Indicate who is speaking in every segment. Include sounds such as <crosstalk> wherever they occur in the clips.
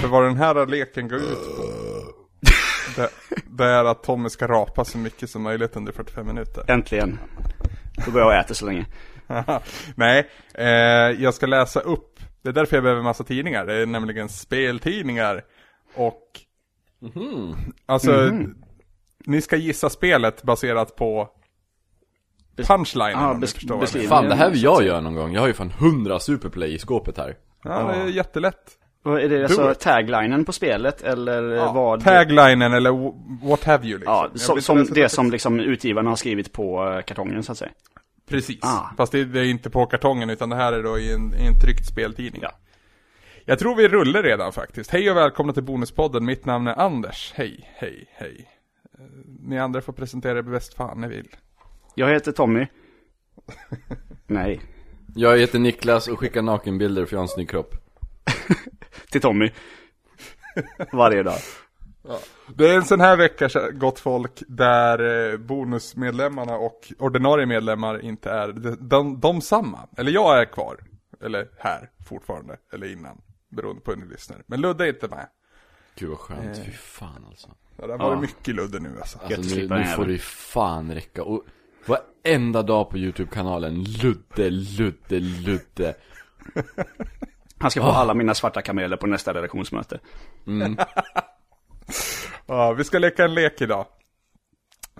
Speaker 1: För vad den här leken går ut
Speaker 2: <laughs>
Speaker 1: på, det, det är att Tommy ska rapa så mycket som möjligt under 45 minuter.
Speaker 2: Äntligen. Då går jag och äter så länge.
Speaker 1: <laughs> Nej, eh, jag ska läsa upp. Det är därför jag behöver massa tidningar. Det är nämligen speltidningar. Och...
Speaker 2: Mm-hmm.
Speaker 1: Alltså, ni ska gissa spelet baserat på punchlinen.
Speaker 2: Ja,
Speaker 1: om ni
Speaker 2: besk-
Speaker 1: förstår vad jag
Speaker 2: beskriv.
Speaker 1: menar.
Speaker 3: Fan, det här vill jag göra någon gång. Jag har ju fan 100 superplay i skåpet här.
Speaker 1: Ja, det är jättelätt.
Speaker 2: Och är det alltså
Speaker 1: it.
Speaker 2: taglinen på spelet eller eh,
Speaker 1: Ja,
Speaker 2: vad?
Speaker 1: Taglinen eller w- what have you liksom.
Speaker 2: ja,
Speaker 1: Jag
Speaker 2: som,
Speaker 1: vet
Speaker 2: som
Speaker 1: inte
Speaker 2: det
Speaker 1: ens-
Speaker 2: som liksom utgivarna har skrivit på eh, kartongen så att säga.
Speaker 1: Precis,
Speaker 2: Ah.
Speaker 1: fast det, det är inte på kartongen utan det här är då i en, i en tryckt speltidning.
Speaker 2: Ja.
Speaker 1: Jag tror vi rullar redan faktiskt. Hej och välkomna till Bonuspodden, mitt namn är Anders. Hej, hej, hej. Eh, Ni andra får presentera er bäst fan ni vill.
Speaker 2: Jag heter Tommy. <laughs> Nej,
Speaker 3: Jag heter Niklas och skickar nakenbilder för jag har en snygg kropp.
Speaker 2: till Tommy. <laughs> Varje dag.
Speaker 1: Det är en sån här vecka, så- gott folk, där eh, bonusmedlemmarna och ordinarie medlemmar inte är de, de, de samma. Eller jag är kvar, eller här fortfarande, eller innan, beroende på hur ni lyssnar. Men Ludde är inte med.
Speaker 3: Gud vad
Speaker 1: Eh.
Speaker 3: skönt, fy fan alltså.
Speaker 1: Ja, det har varit mycket Ludde nu alltså.
Speaker 2: Gött att
Speaker 3: Alltså nu,
Speaker 2: slippa
Speaker 3: nu
Speaker 2: den
Speaker 3: får det ju fan räcka. Och varenda dag på YouTube-kanalen, Ludde, Ludde, Ludde.
Speaker 2: Han ska få alla mina svarta kameler på nästa redaktionsmöte.
Speaker 1: Ja, vi ska leka en lek idag.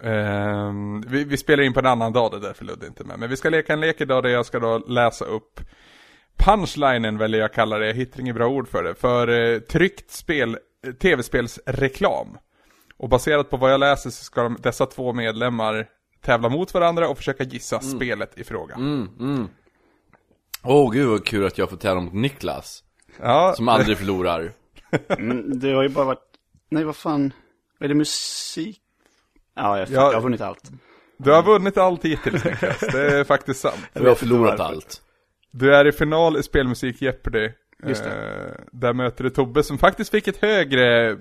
Speaker 1: Ehm, vi, vi spelar in på en annan dag, det är därför Ludde inte är med. Men vi ska leka en lek idag där jag ska då läsa upp punchlinen, väljer jag kalla det. Jag hittar inget bra ord för det. För eh, tryckt spel, eh, tv-spelsreklam. Och baserat på vad jag läser så ska de, dessa två medlemmar tävla mot varandra och försöka gissa spelet i fråga.
Speaker 3: Mm. Åh gud vad kul att jag får tävla mot Niklas.
Speaker 1: Ja,
Speaker 3: Som
Speaker 1: <laughs>
Speaker 3: aldrig förlorar.
Speaker 2: Men det har ju bara varit... Nej, vad fan. Är det musik? Ja, jag,
Speaker 1: Ja.
Speaker 2: jag har vunnit allt.
Speaker 1: du har vunnit allt hittills Niklas, det är faktiskt sant.
Speaker 3: Jag har förlorat allt.
Speaker 1: Du är i final i spelmusik Jeopardy.
Speaker 2: Just
Speaker 1: Eh, där möter du Tobbe som faktiskt fick ett högre eh,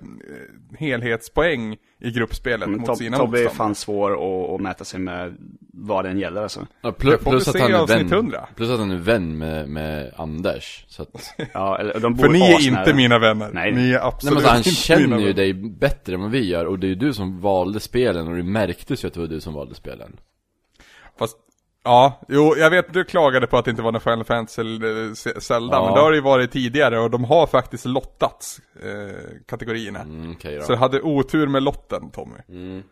Speaker 1: helhetspoäng i gruppspelet
Speaker 2: Men
Speaker 1: mot
Speaker 2: Tob-
Speaker 1: sina
Speaker 2: Tobbe är
Speaker 1: motståndare.
Speaker 2: fan svår att, att mäta sig med vad den gäller alltså.
Speaker 3: Ja, plus,
Speaker 1: Det får vi
Speaker 3: plus, att
Speaker 1: se
Speaker 3: han
Speaker 1: i
Speaker 3: är
Speaker 1: avsnitt
Speaker 3: vän,
Speaker 1: 100.
Speaker 3: plus att han är vän med, med Anders. Så att, nej,
Speaker 2: Ja, eller, och de bor
Speaker 1: För ni är
Speaker 2: asnära.
Speaker 1: inte mina vänner.
Speaker 2: Nej.
Speaker 1: Ni är absolut
Speaker 3: men alltså, han
Speaker 1: inte mina
Speaker 3: känner ju
Speaker 1: vänner.
Speaker 3: dig bättre än vad vi gör. Och det är ju du som valde spelen och det märktes ju att det var du som valde spelen.
Speaker 1: Fast, ja, jo, jag vet du klagade på att det inte var någon Final Fantasy eller eh, Se- Zelda,
Speaker 3: Ja.
Speaker 1: men det har det ju varit tidigare och de har faktiskt lottats, eh, kategorierna.
Speaker 3: Mm, okej
Speaker 1: Så
Speaker 3: då.
Speaker 1: du hade otur med lotten Tommy.
Speaker 2: Mm.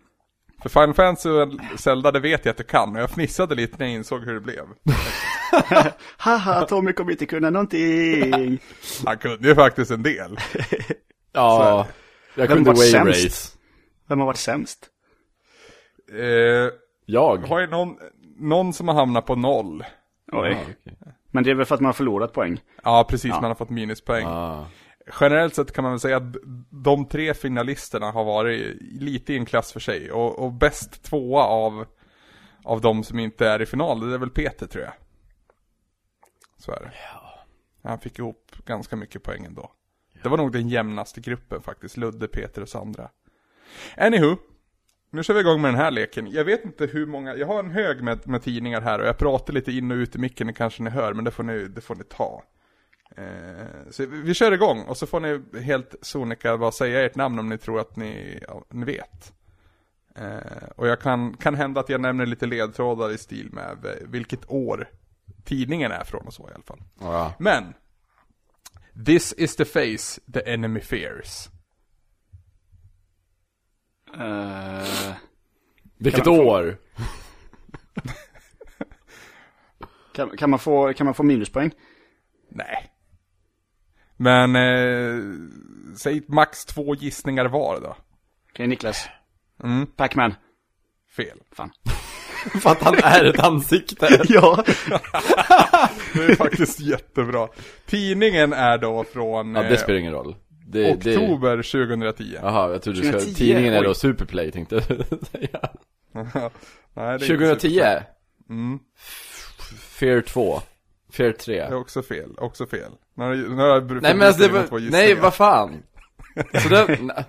Speaker 1: För Final Fantasy och Zelda, det vet jag att du kan, och jag fnissade lite när jag insåg hur det blev.
Speaker 2: Haha, Tommy kommer inte kunna någonting.
Speaker 1: Han kunde ju faktiskt en del.
Speaker 3: Ja, jag
Speaker 2: Vem
Speaker 3: kunde
Speaker 2: var
Speaker 3: way
Speaker 2: sämst?
Speaker 3: race.
Speaker 2: Vem har varit sämst?
Speaker 1: Eh,
Speaker 3: Jag?
Speaker 1: har ju någon, någon som har hamnat på noll.
Speaker 2: Oj. Men det är väl för att man har förlorat poäng.
Speaker 1: Ja, precis, man har fått minuspoäng.
Speaker 3: Ah.
Speaker 1: Generellt sett kan man väl säga att de tre finalisterna har varit lite i en klass för sig. Och, och bäst tvåa av, av de som inte är i final, det är väl Peter tror jag. Så är det. Han fick ihop ganska mycket poäng ändå. Det var nog den jämnaste gruppen faktiskt, Ludde, Peter och Sandra. Anywho, nu kör vi igång med den här leken. Jag vet inte hur många, jag har en hög med, med tidningar här och jag pratar lite in och ut i micken, det kanske ni hör, men det får ni, det får ni ta. Eh, så vi, vi kör igång och så får ni helt sonika bara säga ert namn om ni tror att ni, ja, ni vet. Eh, och jag kan, kan hända att jag nämner lite ledtrådar i stil med eh, vilket år tidningen är från och så i alla fall.
Speaker 3: Ja.
Speaker 1: Men This is the face the enemy fears
Speaker 2: Eh,
Speaker 3: Vilket år?
Speaker 2: kan, kan, man få, kan man få minuspoäng?
Speaker 1: Nej Men eh, Säg max två gissningar var då
Speaker 2: Okej, Niklas. Pac-Man.
Speaker 1: Fel
Speaker 2: Fan.
Speaker 3: För att han är ett <laughs> ansikte.
Speaker 2: ja.
Speaker 1: Det är faktiskt <laughs> jättebra Tidningen är då från
Speaker 3: Ja,
Speaker 1: eh,
Speaker 3: det spelar ingen roll. Det, det...
Speaker 1: Oktober 2010
Speaker 3: Jaha, jag trodde du skulle...
Speaker 2: 2010,
Speaker 3: Tidningen är då
Speaker 2: oj.
Speaker 3: Superplay tänkte jag säga.
Speaker 1: <laughs> Nej, det är inte
Speaker 3: 2010?
Speaker 1: superbra. Mm.
Speaker 3: Fear 2. Fear 3.
Speaker 1: Det är också fel, också fel Nu har nu har jag brukat
Speaker 3: Nej men alltså det
Speaker 1: dina två
Speaker 3: var...
Speaker 1: gissningar.
Speaker 3: Nej,
Speaker 1: <laughs>
Speaker 3: vad fan. Så det... nej.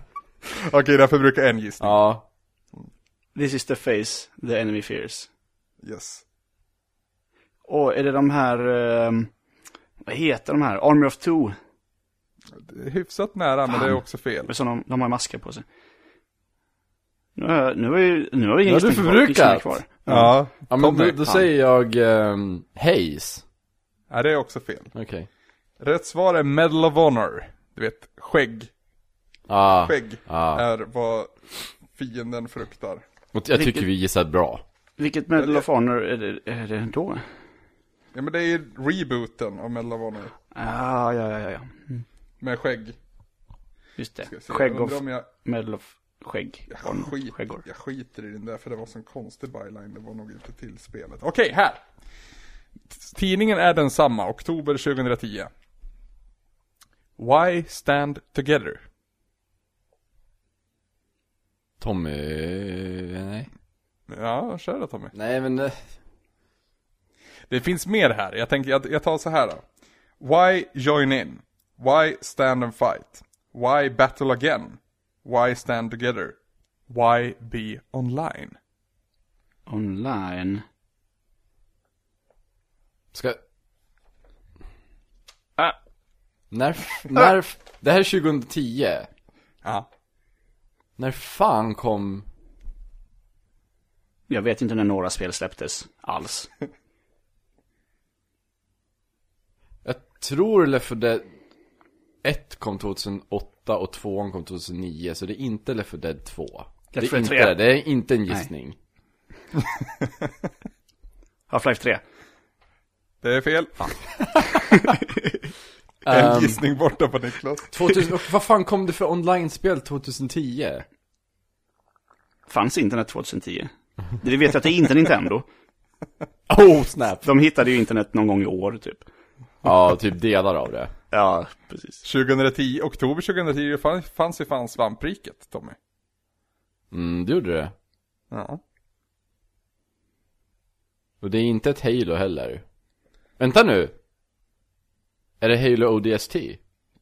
Speaker 1: Okej, därför brukar jag en gissning
Speaker 3: Ja.
Speaker 2: This is the face the enemy fears.
Speaker 1: Yes
Speaker 2: Och är det de här... ehm, vad heter de här? Army of Two?
Speaker 1: hyfsat nära, men det är också fel.
Speaker 2: Det är som de, de har masker på sig. Nu har, jag- nu har, ju, nu har jag
Speaker 3: har
Speaker 2: ingen
Speaker 3: du
Speaker 2: kvar-
Speaker 3: förbrukat.
Speaker 2: gissning kvar.
Speaker 1: Ja,
Speaker 3: Ja men
Speaker 1: Mm. Tommy.
Speaker 3: då, då säger jag um, Hayes.
Speaker 1: Nej, det är också fel.
Speaker 3: Okej.
Speaker 1: Rätt svar är Medal of Honor. Du vet, skägg.
Speaker 3: Ah,
Speaker 1: Skägg
Speaker 3: ah.
Speaker 1: är vad fienden fruktar.
Speaker 3: Och jag tycker vi gissade bra.
Speaker 2: Vilket Medal of Honor är det, är det då?
Speaker 1: Ja, men det är ju rebooten av Medal of Honor.
Speaker 2: Ah, ja, ja, ja, ja.
Speaker 3: Mm.
Speaker 1: Med skägg.
Speaker 2: Just det.
Speaker 1: Så jag
Speaker 2: Skägg och
Speaker 1: undrar om jag...
Speaker 2: Medal of Skägg.
Speaker 1: Jag, skit,
Speaker 2: Skäggor.
Speaker 1: jag skiter i den där för det var en sån konstig byline, det var nog inte till spelet. Okej, här! Tidningen är densamma, oktober 2010. Why stand together?
Speaker 3: Tommy... Nej.
Speaker 1: Ja, kör då Tommy.
Speaker 3: Nej men... eh,
Speaker 1: Det finns mer här, jag tänker, jag, jag tar så här då. Why join in? Why stand and fight? Why battle again? Why stand together? Why be online?
Speaker 2: Online.
Speaker 3: Ska...
Speaker 2: Ah,
Speaker 3: När... <laughs> när det här är 2010.
Speaker 1: Ja.
Speaker 3: När fan kom...
Speaker 2: jag vet inte när några spel släpptes alls.
Speaker 3: Jag tror Left 4 Dead 1 kom 2008 och 2 kom 2009. Så det är inte Left 4 Dead 2. Det
Speaker 2: Left 4
Speaker 3: är, inte,
Speaker 2: tre.
Speaker 3: det, det är inte en gissning.
Speaker 2: Half-Life 3.
Speaker 1: Det är fel. en gissning borta på Niklas.
Speaker 3: 2000, Ehm, och vad fan kom det för
Speaker 1: <laughs>
Speaker 3: online-spel 2010?
Speaker 2: <laughs> Fanns internet 2010? Vi vet ju att det är inte Nintendo.
Speaker 3: <laughs> Oh snap!
Speaker 2: De hittade ju internet någon gång i år typ.
Speaker 3: Ja, typ delar av det.
Speaker 2: Ja, precis.
Speaker 1: 2010, oktober 2010 fanns, fanns ju fan svampriket Tommy.
Speaker 3: Mm, det gjorde det.
Speaker 1: Ja.
Speaker 3: Och det är inte ett Halo heller. Vänta nu! Är det Halo ODST?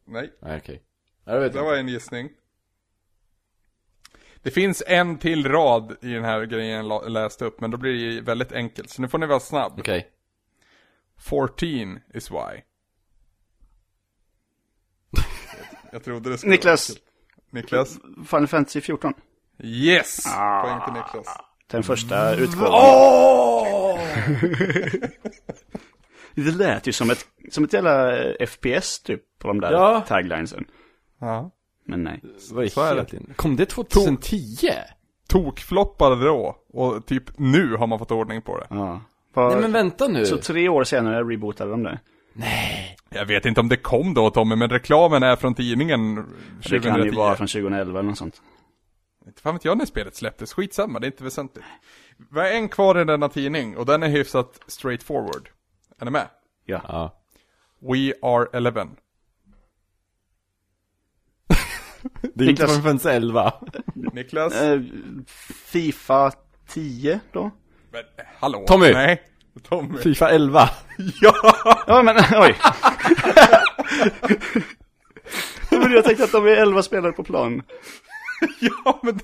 Speaker 3: Nej,
Speaker 1: Nej,
Speaker 3: okej. Jag vet
Speaker 1: det
Speaker 3: inte.
Speaker 1: var en gissning. Det finns en till rad i den här grejen jag la- läste upp, men då blir det ju väldigt enkelt. Så nu får ni vara snabb.
Speaker 3: Okej.
Speaker 1: 14 is why. Jag trodde det skulle
Speaker 2: Niklas,
Speaker 1: Niklas?
Speaker 2: Final Fantasy 14.
Speaker 1: Yes! Poäng till Niklas.
Speaker 2: Den första
Speaker 3: Mm.
Speaker 2: utgåvan. Det lät ju som ett, som ett jävla eh, FPS typ på de där
Speaker 3: Ja.
Speaker 2: taglinesen.
Speaker 1: Ja.
Speaker 2: Men nej.
Speaker 3: Vad
Speaker 1: Så är
Speaker 3: är
Speaker 1: det.
Speaker 3: det? Kom det 2010?
Speaker 1: Tokfloppade då, och typ nu har man fått ordning på det.
Speaker 2: Ja.
Speaker 3: Nej men vänta nu!
Speaker 2: Så tre år senare rebootade de det.
Speaker 1: Jag vet inte om det kom då Tommy, men reklamen är från tidningen 2010.
Speaker 2: Det kan ju vara från 2011 eller något sånt.
Speaker 1: Inte fan vet jag när spelet släpptes, skitsamma, det är inte väsentligt. Vi har en kvar i denna tidning, och den är hyfsat straightforward. Är ni med?
Speaker 2: Ja.
Speaker 3: Ja.
Speaker 1: We are 11.
Speaker 3: Det är
Speaker 2: Niklas-
Speaker 3: inte från Fantasy 11.
Speaker 1: Niklas?
Speaker 2: Eh, Fifa 10 då?
Speaker 1: Men, hallå?
Speaker 3: Tommy!
Speaker 1: Nej. Tommy.
Speaker 3: Fifa 11.
Speaker 1: <laughs> Ja!
Speaker 2: Ja men <laughs> oj. Ja, men jag tänkte att de är 11 spelare på plan.
Speaker 1: Ja, men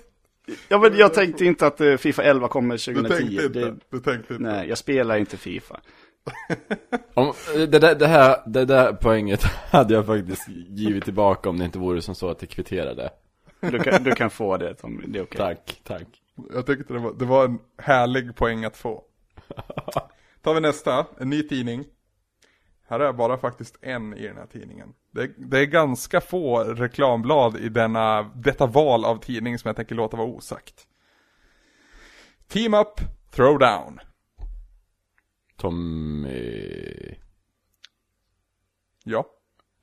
Speaker 2: Ja men jag tänkte inte att eh, Fifa 11 kommer
Speaker 1: du
Speaker 2: 2010.
Speaker 1: tänkte inte.
Speaker 2: Det,
Speaker 1: Du tänkte inte.
Speaker 2: nej, jag spelar inte Fifa.
Speaker 3: Om, det, där, det, här, det där poänget <laughs> hade jag faktiskt givit tillbaka om det inte vore som så att det kvitterade.
Speaker 2: Du kan, du kan få det Tommy, det är okej.
Speaker 3: Tack, tack.
Speaker 1: Jag tyckte det var, det var en härlig poäng att få. Tar vi nästa, en ny tidning. Här är bara faktiskt en i den här tidningen. Det, det är ganska få reklamblad i denna, detta val av tidning som jag tänker låta vara osagt. Team up, throw down.
Speaker 3: Tommy...
Speaker 1: Ja,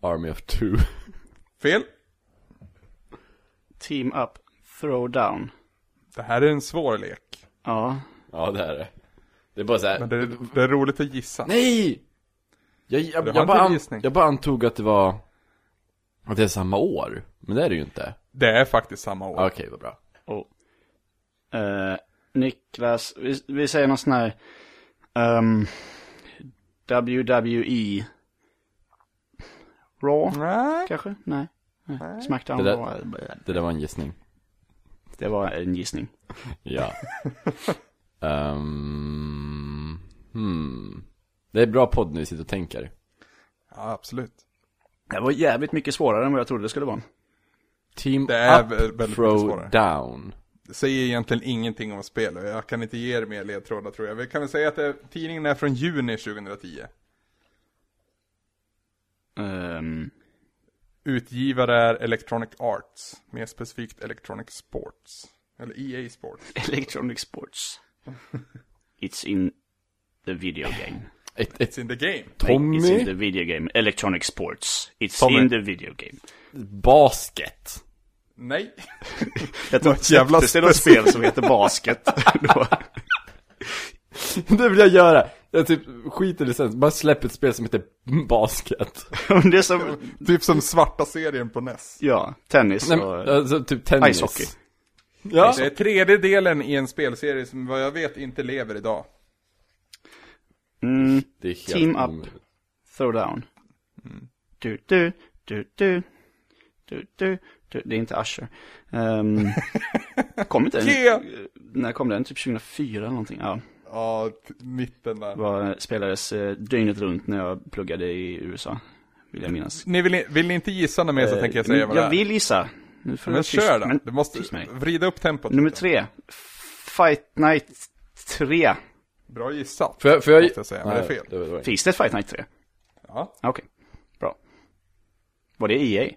Speaker 3: Army of Two. <laughs>
Speaker 1: fel.
Speaker 2: Team up, throw down.
Speaker 1: Det här är en svår lek.
Speaker 2: Ja,
Speaker 3: Ja, det är det. Det är bara så här.
Speaker 1: Men det, det är roligt att gissa.
Speaker 3: Nej! Jag, jag,
Speaker 1: Det
Speaker 3: jag,
Speaker 1: var
Speaker 3: bara
Speaker 1: inte en
Speaker 3: an,
Speaker 1: gissning.
Speaker 3: jag bara antog att det var... Att det är samma år. Men det är det ju inte.
Speaker 1: Det är faktiskt samma år.
Speaker 3: Okej, vad bra.
Speaker 2: och eh, Niklas, vi, vi säger någon sån här ehm, WWE Raw
Speaker 1: Nej.
Speaker 2: kanske? Nej. Nej. Smackdown
Speaker 3: Det där-
Speaker 2: Raw.
Speaker 3: Det där var en gissning.
Speaker 2: Det var en gissning.
Speaker 1: <laughs>
Speaker 3: Ja. Ehm, hmm. Det är bra podd när vi sitter och tänker.
Speaker 1: Ja, absolut.
Speaker 2: Det var jävligt mycket svårare än vad jag trodde det skulle vara.
Speaker 3: Team
Speaker 1: Det är vä- väldigt
Speaker 3: Up,
Speaker 1: mycket
Speaker 3: Throw
Speaker 1: svårare.
Speaker 3: Down.
Speaker 1: Det säger egentligen ingenting om spelet, jag kan inte ge er mer ledtrådar tror jag. Vi kan väl säga att det, tidningen är från juni 2010.
Speaker 2: Ehm, <laughs>
Speaker 1: Utgivare är Electronic Arts, mer specifikt Electronic Sports. Eller EA Sports.
Speaker 2: electronic sports. It's in the video game.
Speaker 3: Ett, ett
Speaker 1: It's in the game.
Speaker 2: It's in
Speaker 3: Tommy
Speaker 2: the video game. Electronic sports. It's
Speaker 1: Tommy.
Speaker 2: in the video game.
Speaker 3: Basket. <laughs>
Speaker 1: Nej. <laughs>
Speaker 2: Jag tror
Speaker 1: Något jävla
Speaker 2: det är något spel som heter basket.
Speaker 1: <laughs>
Speaker 2: <laughs> Då-
Speaker 3: Det vill jag göra. Jag typ skiter i licens, bara släpp ett spel som heter
Speaker 1: <laughs>
Speaker 3: Basket.
Speaker 2: <laughs> Men det är som,
Speaker 1: typ som svarta serien på E NES.
Speaker 2: ja, tennis
Speaker 3: Nej,
Speaker 2: och...
Speaker 3: men, alltså typ tennis.
Speaker 2: Icehockey.
Speaker 3: Ja.
Speaker 1: Det är tredje delen i en spelserie som vad jag vet inte lever idag.
Speaker 2: Mm,
Speaker 3: Det är helt
Speaker 2: Team Up.
Speaker 3: omöjligt.
Speaker 2: throwdown.
Speaker 1: Mm.
Speaker 2: Du, du, du, du. Du, du, du. Det är inte Usher.
Speaker 1: <laughs>
Speaker 2: Ehm, kom inte den?
Speaker 1: Yeah!
Speaker 2: När kom den? Typ 2004 eller någonting? Ja.
Speaker 1: Ja, t- mitten där.
Speaker 2: var, spelades eh, dygnet runt när jag pluggade i USA, vill jag minnas.
Speaker 1: Ni vill, ni- vill ni inte gissa något mer så tänker jag
Speaker 2: Men
Speaker 1: säga vad det
Speaker 2: Eh, jag
Speaker 1: är.
Speaker 2: vill gissa. Nu får
Speaker 1: Men
Speaker 2: du vara tyst.
Speaker 1: kör då.
Speaker 2: Men-
Speaker 1: Du måste
Speaker 2: tyst med dig.
Speaker 1: vrida upp tempot.
Speaker 2: Nummer
Speaker 1: lite.
Speaker 2: tre. Fight Night 3.
Speaker 1: Bra gissat.
Speaker 3: Får jag, får jag...
Speaker 1: Måste jag säga, men det är fel.
Speaker 3: det var- det var inget.
Speaker 2: Finns det ett Fight Night 3?
Speaker 1: Ja.
Speaker 2: Ah, Okej, bra. Var det E EA?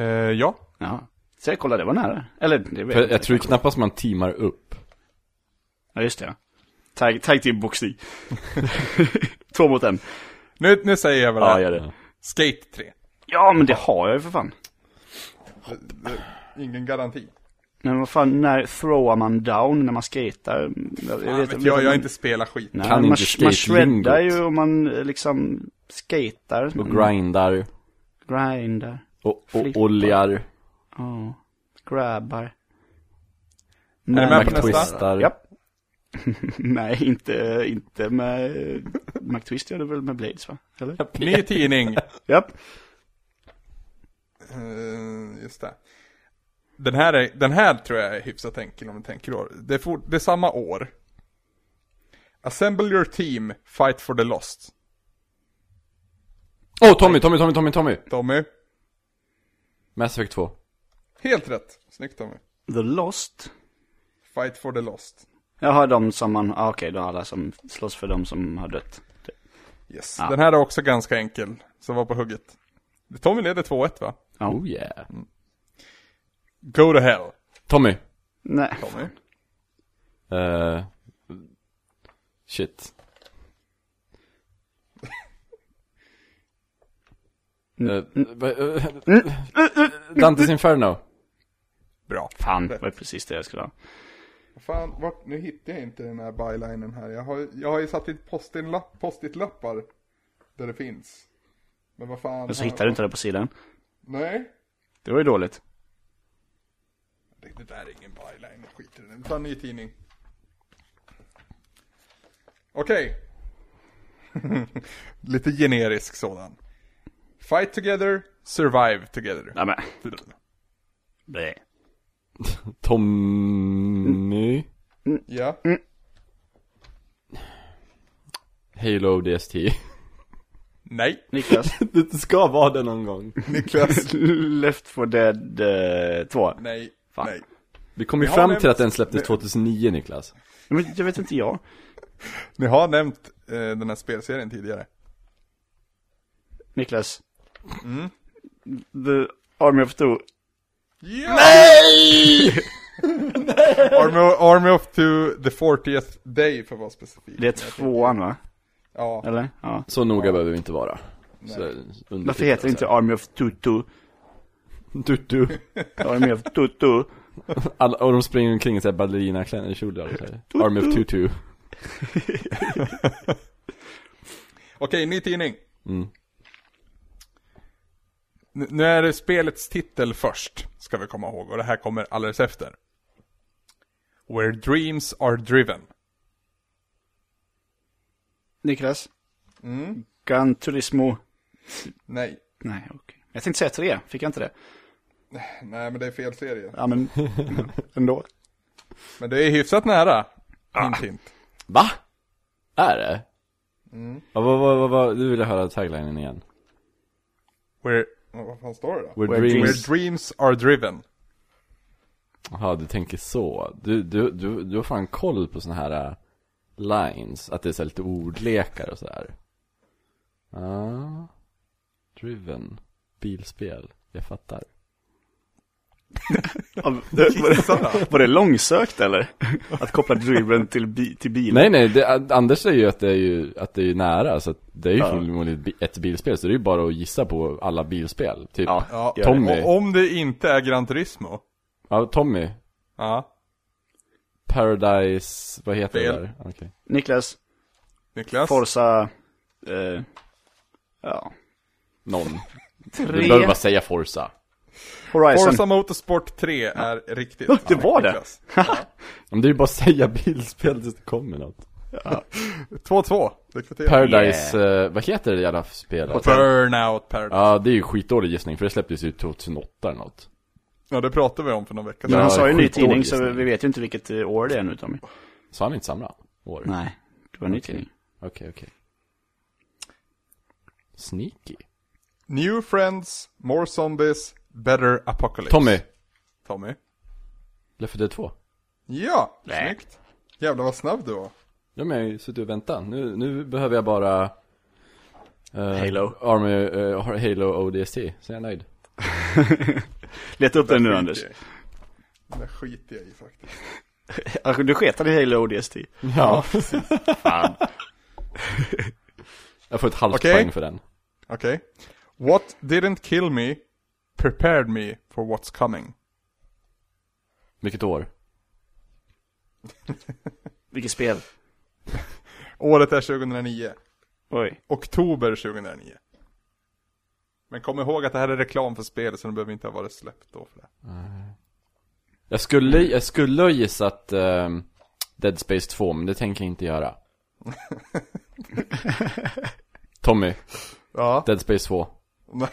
Speaker 1: Eh, ja.
Speaker 2: Ja. Så jag kolla, det var nära. Eller, det vet
Speaker 3: För
Speaker 2: jag
Speaker 3: jag
Speaker 2: inte.
Speaker 3: tror knappast man teamar upp.
Speaker 2: Ja, just det. ja. Tag, tag till boxning. <laughs> Två mot en.
Speaker 1: Nu, nu säger jag vad det
Speaker 3: Ja,
Speaker 1: är.
Speaker 3: gör det.
Speaker 1: Skate 3.
Speaker 2: Ja, men det har jag ju för fan.
Speaker 1: Eh, Ingen garanti.
Speaker 2: Men vad fan, när throwar man down när man skatar? Jag,
Speaker 1: Jag, vet, jag, jag har inte spelat skit.
Speaker 2: Nej,
Speaker 3: Kan
Speaker 2: man,
Speaker 3: inte
Speaker 2: man
Speaker 3: skatelingot.
Speaker 2: shreddar ju och man eh, liksom skatar.
Speaker 3: Och
Speaker 2: Man
Speaker 3: grindar.
Speaker 2: grindar.
Speaker 3: Och, och
Speaker 2: Flippa.
Speaker 3: oljar.
Speaker 2: Ja. Grabbar.
Speaker 1: Är ni med på nästa?
Speaker 3: McTwistar.
Speaker 2: Ja. <laughs> Nej, inte, inte med... McTwist gör det väl med Blades va? Eller? Japp.
Speaker 1: Ny tidning.
Speaker 2: Japp.
Speaker 1: Eh, Just det. Den här, är, den här tror jag är hyfsat enkel om du tänker år. Det är, fort, det är samma år. Assemble your team, fight for the lost.
Speaker 3: Åh, oh, Tommy, Tommy, Tommy, Tommy, Tommy!
Speaker 1: Tommy,
Speaker 3: Mass Effect 2.
Speaker 1: helt rätt. Snyggt Tommy.
Speaker 2: The Lost.
Speaker 1: Fight for the lost.
Speaker 2: Jaha, de som man... Ah, Okej, då alla som slåss för de som har dött.
Speaker 1: Yes. Den här är också ganska enkel, så var på hugget. Tommy leder 2-1 va?
Speaker 2: Ja.
Speaker 3: Oh yeah.
Speaker 1: Go to hell,
Speaker 3: Tommy.
Speaker 2: Nej.
Speaker 1: Tommy.
Speaker 3: Eh, shit. Uh, Dantes Inferno.
Speaker 1: Bra.
Speaker 2: Fan, det var precis det jag skulle ha.
Speaker 1: Fan, vart, nu hittar jag inte den här bylinen här. Jag har, jag har ju satt dit postin-lapp- post-it-lappar där det finns. Men vad fan.
Speaker 2: Men så hittade du inte det på sidan.
Speaker 1: Nej.
Speaker 2: Det var ju dåligt.
Speaker 1: Det, det där är ingen byline, jag skiter i den. Ta en ny tidning. Okej. <laughs> Lite generisk sådan. Fight together, survive together.
Speaker 2: Nej, men... Blä.
Speaker 3: Tommy.
Speaker 1: Ja.
Speaker 2: Mm.
Speaker 3: Halo DST.
Speaker 1: Nej,
Speaker 2: Niklas.
Speaker 3: <laughs> det ska vara det någon gång.
Speaker 1: Niklas.
Speaker 2: <laughs> Left 4 Dead eh, 2.
Speaker 1: Nej,
Speaker 2: Fan.
Speaker 1: nej.
Speaker 3: Vi kom ju
Speaker 1: Vi har
Speaker 3: fram
Speaker 1: nämnt-
Speaker 3: till att den släpptes 2009 Niklas.
Speaker 2: Men jag vet inte jag.
Speaker 1: Ni har nämnt eh, den här spelserien tidigare.
Speaker 2: Niklas. The Army of Two.
Speaker 1: Nej! Army, Army of Two, the 40th day för att vara specifik.
Speaker 2: Det är tvåan va?
Speaker 1: Ja,
Speaker 2: Eller? Ja.
Speaker 3: Så noga behöver vi inte vara. Så, alltså. undertitlar
Speaker 2: Varför heter det
Speaker 3: så
Speaker 2: inte Army of Tutu? <laughs>
Speaker 3: här. Tutu.
Speaker 2: Army of Tutu.
Speaker 3: Alla, och de springer omkring i så här ballerinaklänningskjolar. så här. Army of Tutu.
Speaker 1: Okej, ny tidning. N- Nu är det spelets titel först, ska vi komma ihåg. Och det här kommer alldeles efter. Where dreams are driven.
Speaker 2: Niklas. Mm. Gran Turismo.
Speaker 1: Nej,
Speaker 2: Nej, okej. Jag tänkte säga tre, fick jag inte det?
Speaker 1: nej men det är fel serie.
Speaker 2: Ja, men <laughs> ändå.
Speaker 1: Men det är hyfsat nära.
Speaker 2: Ah.
Speaker 1: Hint, hint.
Speaker 3: Va? Är det? Ja, vad, vad, vad, vad, du vill höra taglinen igen.
Speaker 1: Where... oh, Vad fan står det då?
Speaker 3: Where
Speaker 2: Where
Speaker 3: dreams...
Speaker 1: Where
Speaker 2: dreams-
Speaker 1: dreams are driven.
Speaker 3: Jaha, du tänker så. Du, du, du, du har fan koll på såna här äh, lines. Att det är så här lite ordlekar och sådär. Ah. Driven. Bilspel. Jag fattar.
Speaker 2: Av- <laughs> Var det, var det långsökt eller? Att koppla driven till, bi, till bil?
Speaker 3: Nej, nej. Det, Anders säger ju att det är ju att det är ju nära. Så att det är ju
Speaker 2: Ja.
Speaker 3: förmodligen ett bi- ett bilspel. Så det är ju bara att gissa på alla bilspel. Typ.
Speaker 2: Ja,
Speaker 1: Ja,
Speaker 3: Ja,
Speaker 2: gör det.
Speaker 3: Tom- Tommy.
Speaker 1: Och om det inte är Gran Turismo.
Speaker 3: Tommy.
Speaker 1: Ja,
Speaker 3: Paradise. Vad heter
Speaker 1: Fel.
Speaker 3: det där? Okej.
Speaker 2: Niklas,
Speaker 1: Niklas.
Speaker 2: Forza, eh, ja,
Speaker 3: Någon. Du behöver
Speaker 2: <laughs> tre,
Speaker 3: bara säga Forza.
Speaker 2: Horizon.
Speaker 1: Forza Motorsport 3 är riktigt.
Speaker 2: <laughs> det var det.
Speaker 1: Niklas.
Speaker 3: Men det är ju bara att säga <laughs> bilspel tills det kommer något.
Speaker 1: 2-2. Det kvitterar.
Speaker 3: Paradise, eh, vad heter det jävla spelet?
Speaker 2: Hotel.
Speaker 1: Burnout Paradise. Ja.
Speaker 3: Ja, det är ju skitdålig gissning för det släpptes ju 2008 eller något.
Speaker 1: det pratade vi om för någon vecka
Speaker 2: Men
Speaker 1: sedan.
Speaker 2: han
Speaker 3: Ja,
Speaker 2: sa ju ny
Speaker 3: skitdålig
Speaker 2: tidning så
Speaker 3: gissning.
Speaker 2: vi vet ju inte vilket eh, år det är nu Tommy.
Speaker 3: Så han inte samma år?
Speaker 2: Nej, det var en ny tidning.
Speaker 3: Okej, okej. Sneaky.
Speaker 1: New friends, more zombies, better apocalypse.
Speaker 3: Tommy,
Speaker 1: Tommy.
Speaker 3: Left 4 Dead 2.
Speaker 1: Ja, snyggt. Jävlar vad snabb du var.
Speaker 3: Ja men jag har ju suttit och väntat. Nu, nu behöver jag bara... eh,
Speaker 2: Halo.
Speaker 3: Army, eh, Halo ODST, så är jag nöjd.
Speaker 2: Leta upp den nu
Speaker 1: Skiter
Speaker 2: Anders.
Speaker 1: jag i. Det skiter jag i faktiskt.
Speaker 2: Alltså, Du sketade i Halo ODST.
Speaker 3: Ja. <laughs> jag får ett halvt
Speaker 1: Okej.
Speaker 3: poäng för den.
Speaker 1: Okej. What didn't kill me prepared me for what's coming.
Speaker 3: Vilket år?
Speaker 2: Vilket spel?
Speaker 1: Året är 2009.
Speaker 2: Oj.
Speaker 1: Oktober 2009. Men kom ihåg att det här är reklam för spel så det behöver inte ha varit släppt då för det.
Speaker 3: Jag skulle, jag skulle ha gissat ehm, Dead Space 2, men det tänker jag inte göra. Tommy,
Speaker 1: Ja.
Speaker 3: Dead Space 2.
Speaker 1: Nej.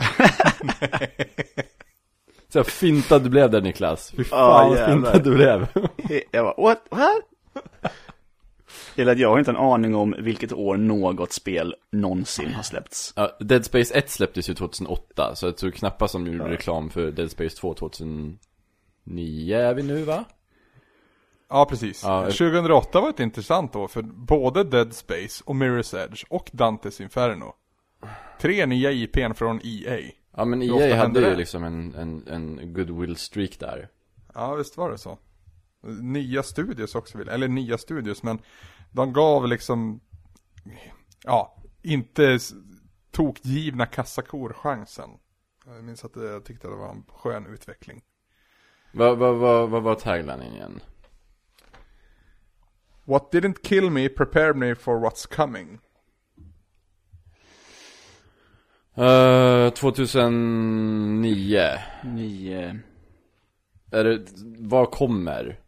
Speaker 3: Så jag fintad du blev där Niklas. Fy
Speaker 2: Ah,
Speaker 3: fan vad
Speaker 2: jävlar.
Speaker 3: fintad du blev.
Speaker 2: Jag bara, what? What? Eller att jag har inte en aning om vilket år något spel någonsin har släppts.
Speaker 3: Ja, Dead Space 1 släpptes ju 2008, så jag tror knappast som gjorde reklam för Dead Space 2 2009 är vi nu va?
Speaker 1: Ja, precis.
Speaker 3: Ja.
Speaker 1: 2008 var ett intressant år för både Dead Space och Mirror's Edge och Dantes Inferno. Tre nya IPn från E EA.
Speaker 3: Ja men
Speaker 1: ofta
Speaker 3: EA hade
Speaker 1: händer
Speaker 3: ju
Speaker 1: det?
Speaker 3: liksom en, en, en goodwill streak där.
Speaker 1: Ja, visst var det så. Nya studios också, vill- eller nya studios, men de gav liksom, ja, inte s- tokgivna kassakor chansen. Jag minns att eh, jag tyckte det var en skön utveckling.
Speaker 3: Vad vad vad vad var taglinen igen?
Speaker 1: What didn't kill me prepared me for what's coming.
Speaker 3: Eh, 2009
Speaker 2: Nio.
Speaker 3: Är det, vad kommer?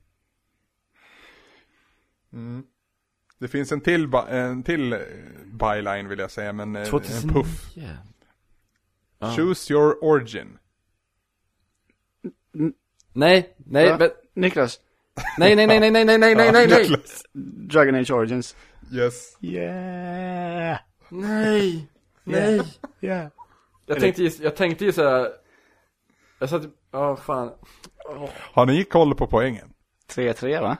Speaker 1: Det finns en till, ba- en till eh, byline vill jag säga, men eh, en puff.
Speaker 3: Ah.
Speaker 1: Choose your origin.
Speaker 3: Nej, nej,
Speaker 2: Va?
Speaker 3: men,
Speaker 2: Niklas,
Speaker 3: nej, nej, nej, nej, nej, nej, nej, nej, nej, <laughs> nej,
Speaker 2: Dragon Age Origins.
Speaker 1: Yes.
Speaker 2: Yeah!
Speaker 3: nej, nej.
Speaker 2: Yeah.
Speaker 3: Jag tänkte gissa, jag tänkte gissa, jag satt, ja fan.
Speaker 1: Har ni koll på poängen?
Speaker 2: 3-3 va?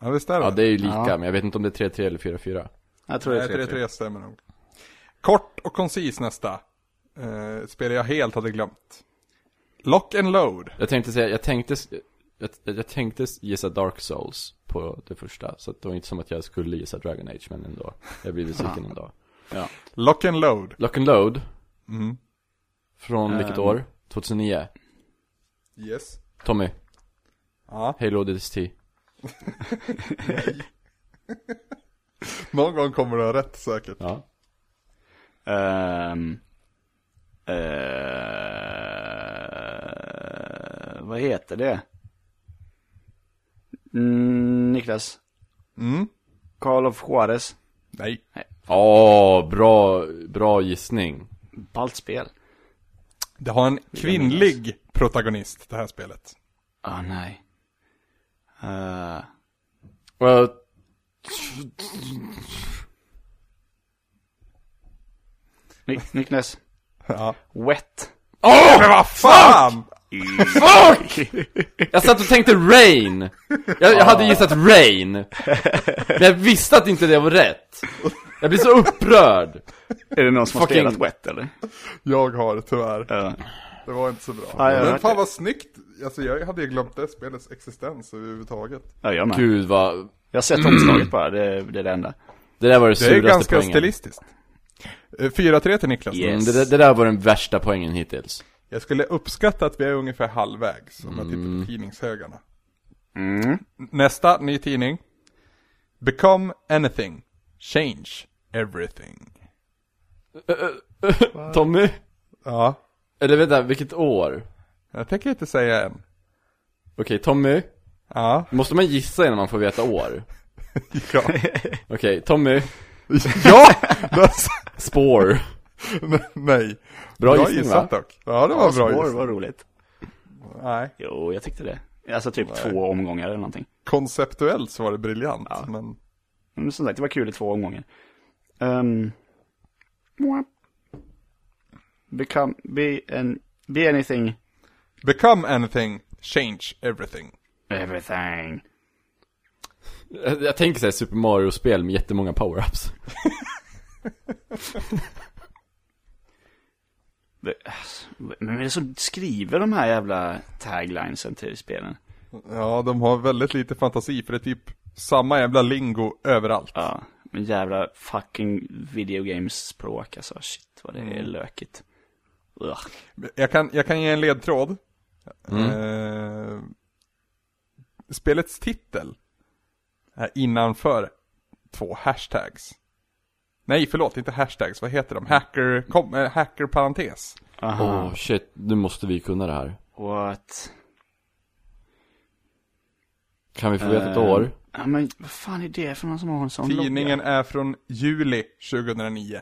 Speaker 1: Ja, visst är det?
Speaker 3: Ja, det är ju lika,
Speaker 2: Ja.
Speaker 3: men jag vet inte om det är 3-3 eller 4-4.
Speaker 2: Jag tror det är 3-3.
Speaker 1: 3-3 Äh, stämmer nog. Kort och koncis nästa. Eh, ett spel jag helt hade glömt. Lock and load.
Speaker 3: Jag tänkte säga, jag tänkte, jag, jag tänkte gissa Dark Souls på det första, så att det var inte som att jag skulle gissa Dragon Age, men ändå. Jag blir besviken ändå.
Speaker 1: Lock and load.
Speaker 3: Lock and Load,
Speaker 1: Mm.
Speaker 3: från vilket
Speaker 2: Ehm.
Speaker 3: år? 2009.
Speaker 1: Yes.
Speaker 3: Tommy,
Speaker 1: Ja.
Speaker 3: Halo DST.
Speaker 1: Någon gång kommer du ha rätt säkert.
Speaker 3: Ja.
Speaker 2: Ehm, eh, vad heter det? Mm, Niklas,
Speaker 1: Mm.
Speaker 2: Carl of Juarez.
Speaker 1: Nej.
Speaker 3: Åh, bra, bra gissning.
Speaker 2: Ballt spel.
Speaker 1: Det har en kvinnlig protagonist det här spelet.
Speaker 2: Ah nej. Eh,
Speaker 3: Well,
Speaker 2: Ni- Niklas,
Speaker 1: Ja.
Speaker 2: Wet.
Speaker 3: Åh!
Speaker 1: Men vad fan!
Speaker 3: Fuck! Jag satt och tänkte rain. Jag, jag hade gissat rain. Men jag visste att inte det var rätt. Jag blir så upprörd.
Speaker 2: Är det någon som har
Speaker 3: Fucking-
Speaker 2: spelat Wet eller?
Speaker 1: Jag har det tyvärr.
Speaker 2: Ja.
Speaker 1: Det var inte så bra.
Speaker 2: Ja, jag
Speaker 1: Men
Speaker 2: vet
Speaker 1: fan
Speaker 2: det.
Speaker 1: vad snyggt. Alltså jag hade ju glömt det spelets existens överhuvudtaget.
Speaker 2: ja, jag med.
Speaker 3: Gud vad...
Speaker 2: Jag har sett
Speaker 1: Mm.
Speaker 2: omslaget bara, det, det är det enda.
Speaker 3: Det där var det
Speaker 1: Det är
Speaker 3: suraste
Speaker 1: ganska
Speaker 3: poängen.
Speaker 1: stilistiskt. Eh, 4-3 till Niklas.
Speaker 2: Yeah.
Speaker 3: Mm, det, där- det där var den värsta poängen hittills.
Speaker 1: Jag skulle uppskatta att vi är ungefär halvvägs om jag tittar på tidningshögarna. Mm. Nästa, ny tidning. Become anything. Change everything.
Speaker 3: Tommy?
Speaker 1: Ja,
Speaker 3: Eller vänta, vilket år?
Speaker 1: jag tänker inte säga än.
Speaker 3: Okej, Tommy?
Speaker 1: Ja,
Speaker 3: Måste man gissa innan man får veta år?
Speaker 1: <laughs> ja.
Speaker 3: Okej, Tommy?
Speaker 1: <laughs> ja! Alltså,
Speaker 3: Spår.
Speaker 1: <laughs> Nej.
Speaker 3: Bra gissning, va?
Speaker 1: dock. Ja, det var bra
Speaker 2: Spår
Speaker 1: gissning.
Speaker 2: Alltså, var roligt.
Speaker 1: Nej,
Speaker 2: Jo, jag tyckte det. Alltså typ två omgångar eller någonting.
Speaker 1: konceptuellt så var det briljant. Men
Speaker 2: Men som sagt, det var kul i två omgångar. Um, become, be, an, be anything,
Speaker 1: Become anything, change everything.
Speaker 2: everything.
Speaker 3: Jag, jag tänker såhär Super Mario-spel med jättemånga power-ups.
Speaker 2: Det- alltså, Men det är så skriver de här jävla taglinesen till spelen.
Speaker 1: Ja, de har väldigt lite fantasi för det är typ samma jävla lingo överallt.
Speaker 2: Ja, men jävla fucking video games språk alltså. Shit vad det är lökigt. Ugh.
Speaker 1: Jag kan, jag kan ge en ledtråd. Eh, spelets titel är innanför två hashtags. Nej, förlåt, inte hashtags, vad heter de? Hacker, kom, eh, hacker parentes.
Speaker 3: Åh
Speaker 2: Aha,
Speaker 3: shit, nu måste vi kunna det här.
Speaker 2: what?
Speaker 3: Kan vi få veta ett år?
Speaker 2: Ja men vad fan är det för någon som har en sån
Speaker 1: Tidningen
Speaker 2: logga?
Speaker 1: är från juli 2009.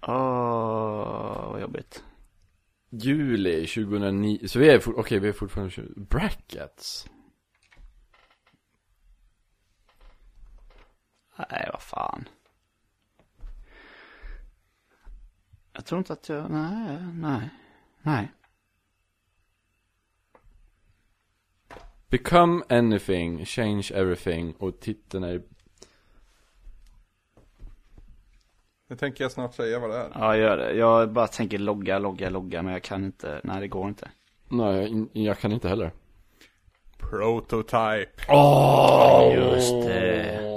Speaker 2: Åh, vad jobbigt.
Speaker 3: Juli 2009, så vi är fort, okej vi är fortfarande 20, brackets?
Speaker 2: Nej, vad fan. Jag tror inte att jag, nej, nej, nej.
Speaker 3: Become anything, change everything och titeln är
Speaker 1: Nu tänker jag snart säga vad det är.
Speaker 2: Ja, gör det. Jag bara tänker logga, logga, logga, men jag kan inte, nej det går inte.
Speaker 3: Nej, jag, in- jag kan inte heller
Speaker 1: Prototype.
Speaker 2: Just
Speaker 3: Oh.
Speaker 2: det.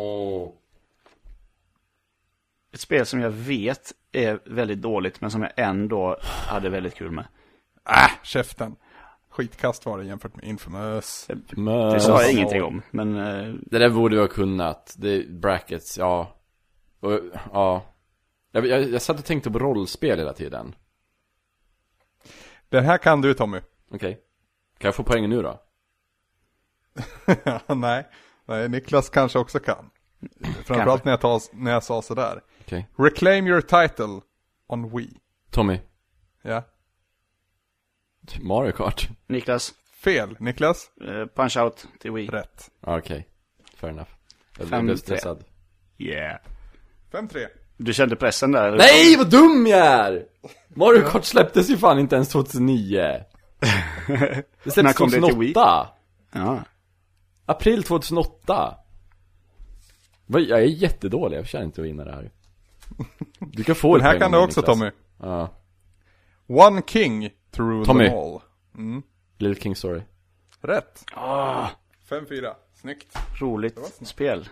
Speaker 2: Ett spel som jag vet är väldigt dåligt, men som jag ändå hade väldigt kul med.
Speaker 1: Äh, käften. Skitkast var det jämfört med Infamous.
Speaker 3: Men,
Speaker 2: Det sa jag ingenting om, men eh,
Speaker 3: det där borde vi ha kunnat, det, brackets, ja och, ja jag, jag, jag satt och tänkte på rollspel hela tiden
Speaker 1: Den här kan du Tommy. <laughs>
Speaker 3: Okej Kan jag få poängen nu då?
Speaker 1: Nej. Nej, Niklas kanske också kan. Framförallt när jag, tar, när jag sa sådär.
Speaker 3: Okej
Speaker 1: Reclaim your title on Wii.
Speaker 3: Tommy,
Speaker 1: Ja.
Speaker 3: Mario Kart?
Speaker 2: Niklas,
Speaker 1: Fel, Niklas.
Speaker 2: eh, punch out till Wii.
Speaker 1: Rätt.
Speaker 3: Ja, Okej, fair enough Jag
Speaker 2: Fem,
Speaker 3: blev
Speaker 2: tre.
Speaker 3: stressad
Speaker 2: Yeah.
Speaker 1: 5-3.
Speaker 2: Du kände pressen där? eller?
Speaker 3: Nej vad dum jag är! Mario Kart släpptes ju fan inte ens 2009 Det
Speaker 2: När
Speaker 3: släpptes
Speaker 2: kom det till
Speaker 3: 2008
Speaker 2: Ja.
Speaker 3: April 2008 Vad- Jag är jättedålig, jag förtjänar inte att vinna det här Du kan få
Speaker 1: Den
Speaker 3: ett
Speaker 1: här
Speaker 3: poäng
Speaker 1: kan
Speaker 3: om
Speaker 1: du också
Speaker 3: Niklas.
Speaker 1: Tommy.
Speaker 3: Ja,
Speaker 1: One king to rule
Speaker 3: Tommy.
Speaker 1: them all.
Speaker 3: Little King Story
Speaker 1: Rätt.
Speaker 2: Ah,
Speaker 1: 5-4. Snyggt.
Speaker 2: roligt spel.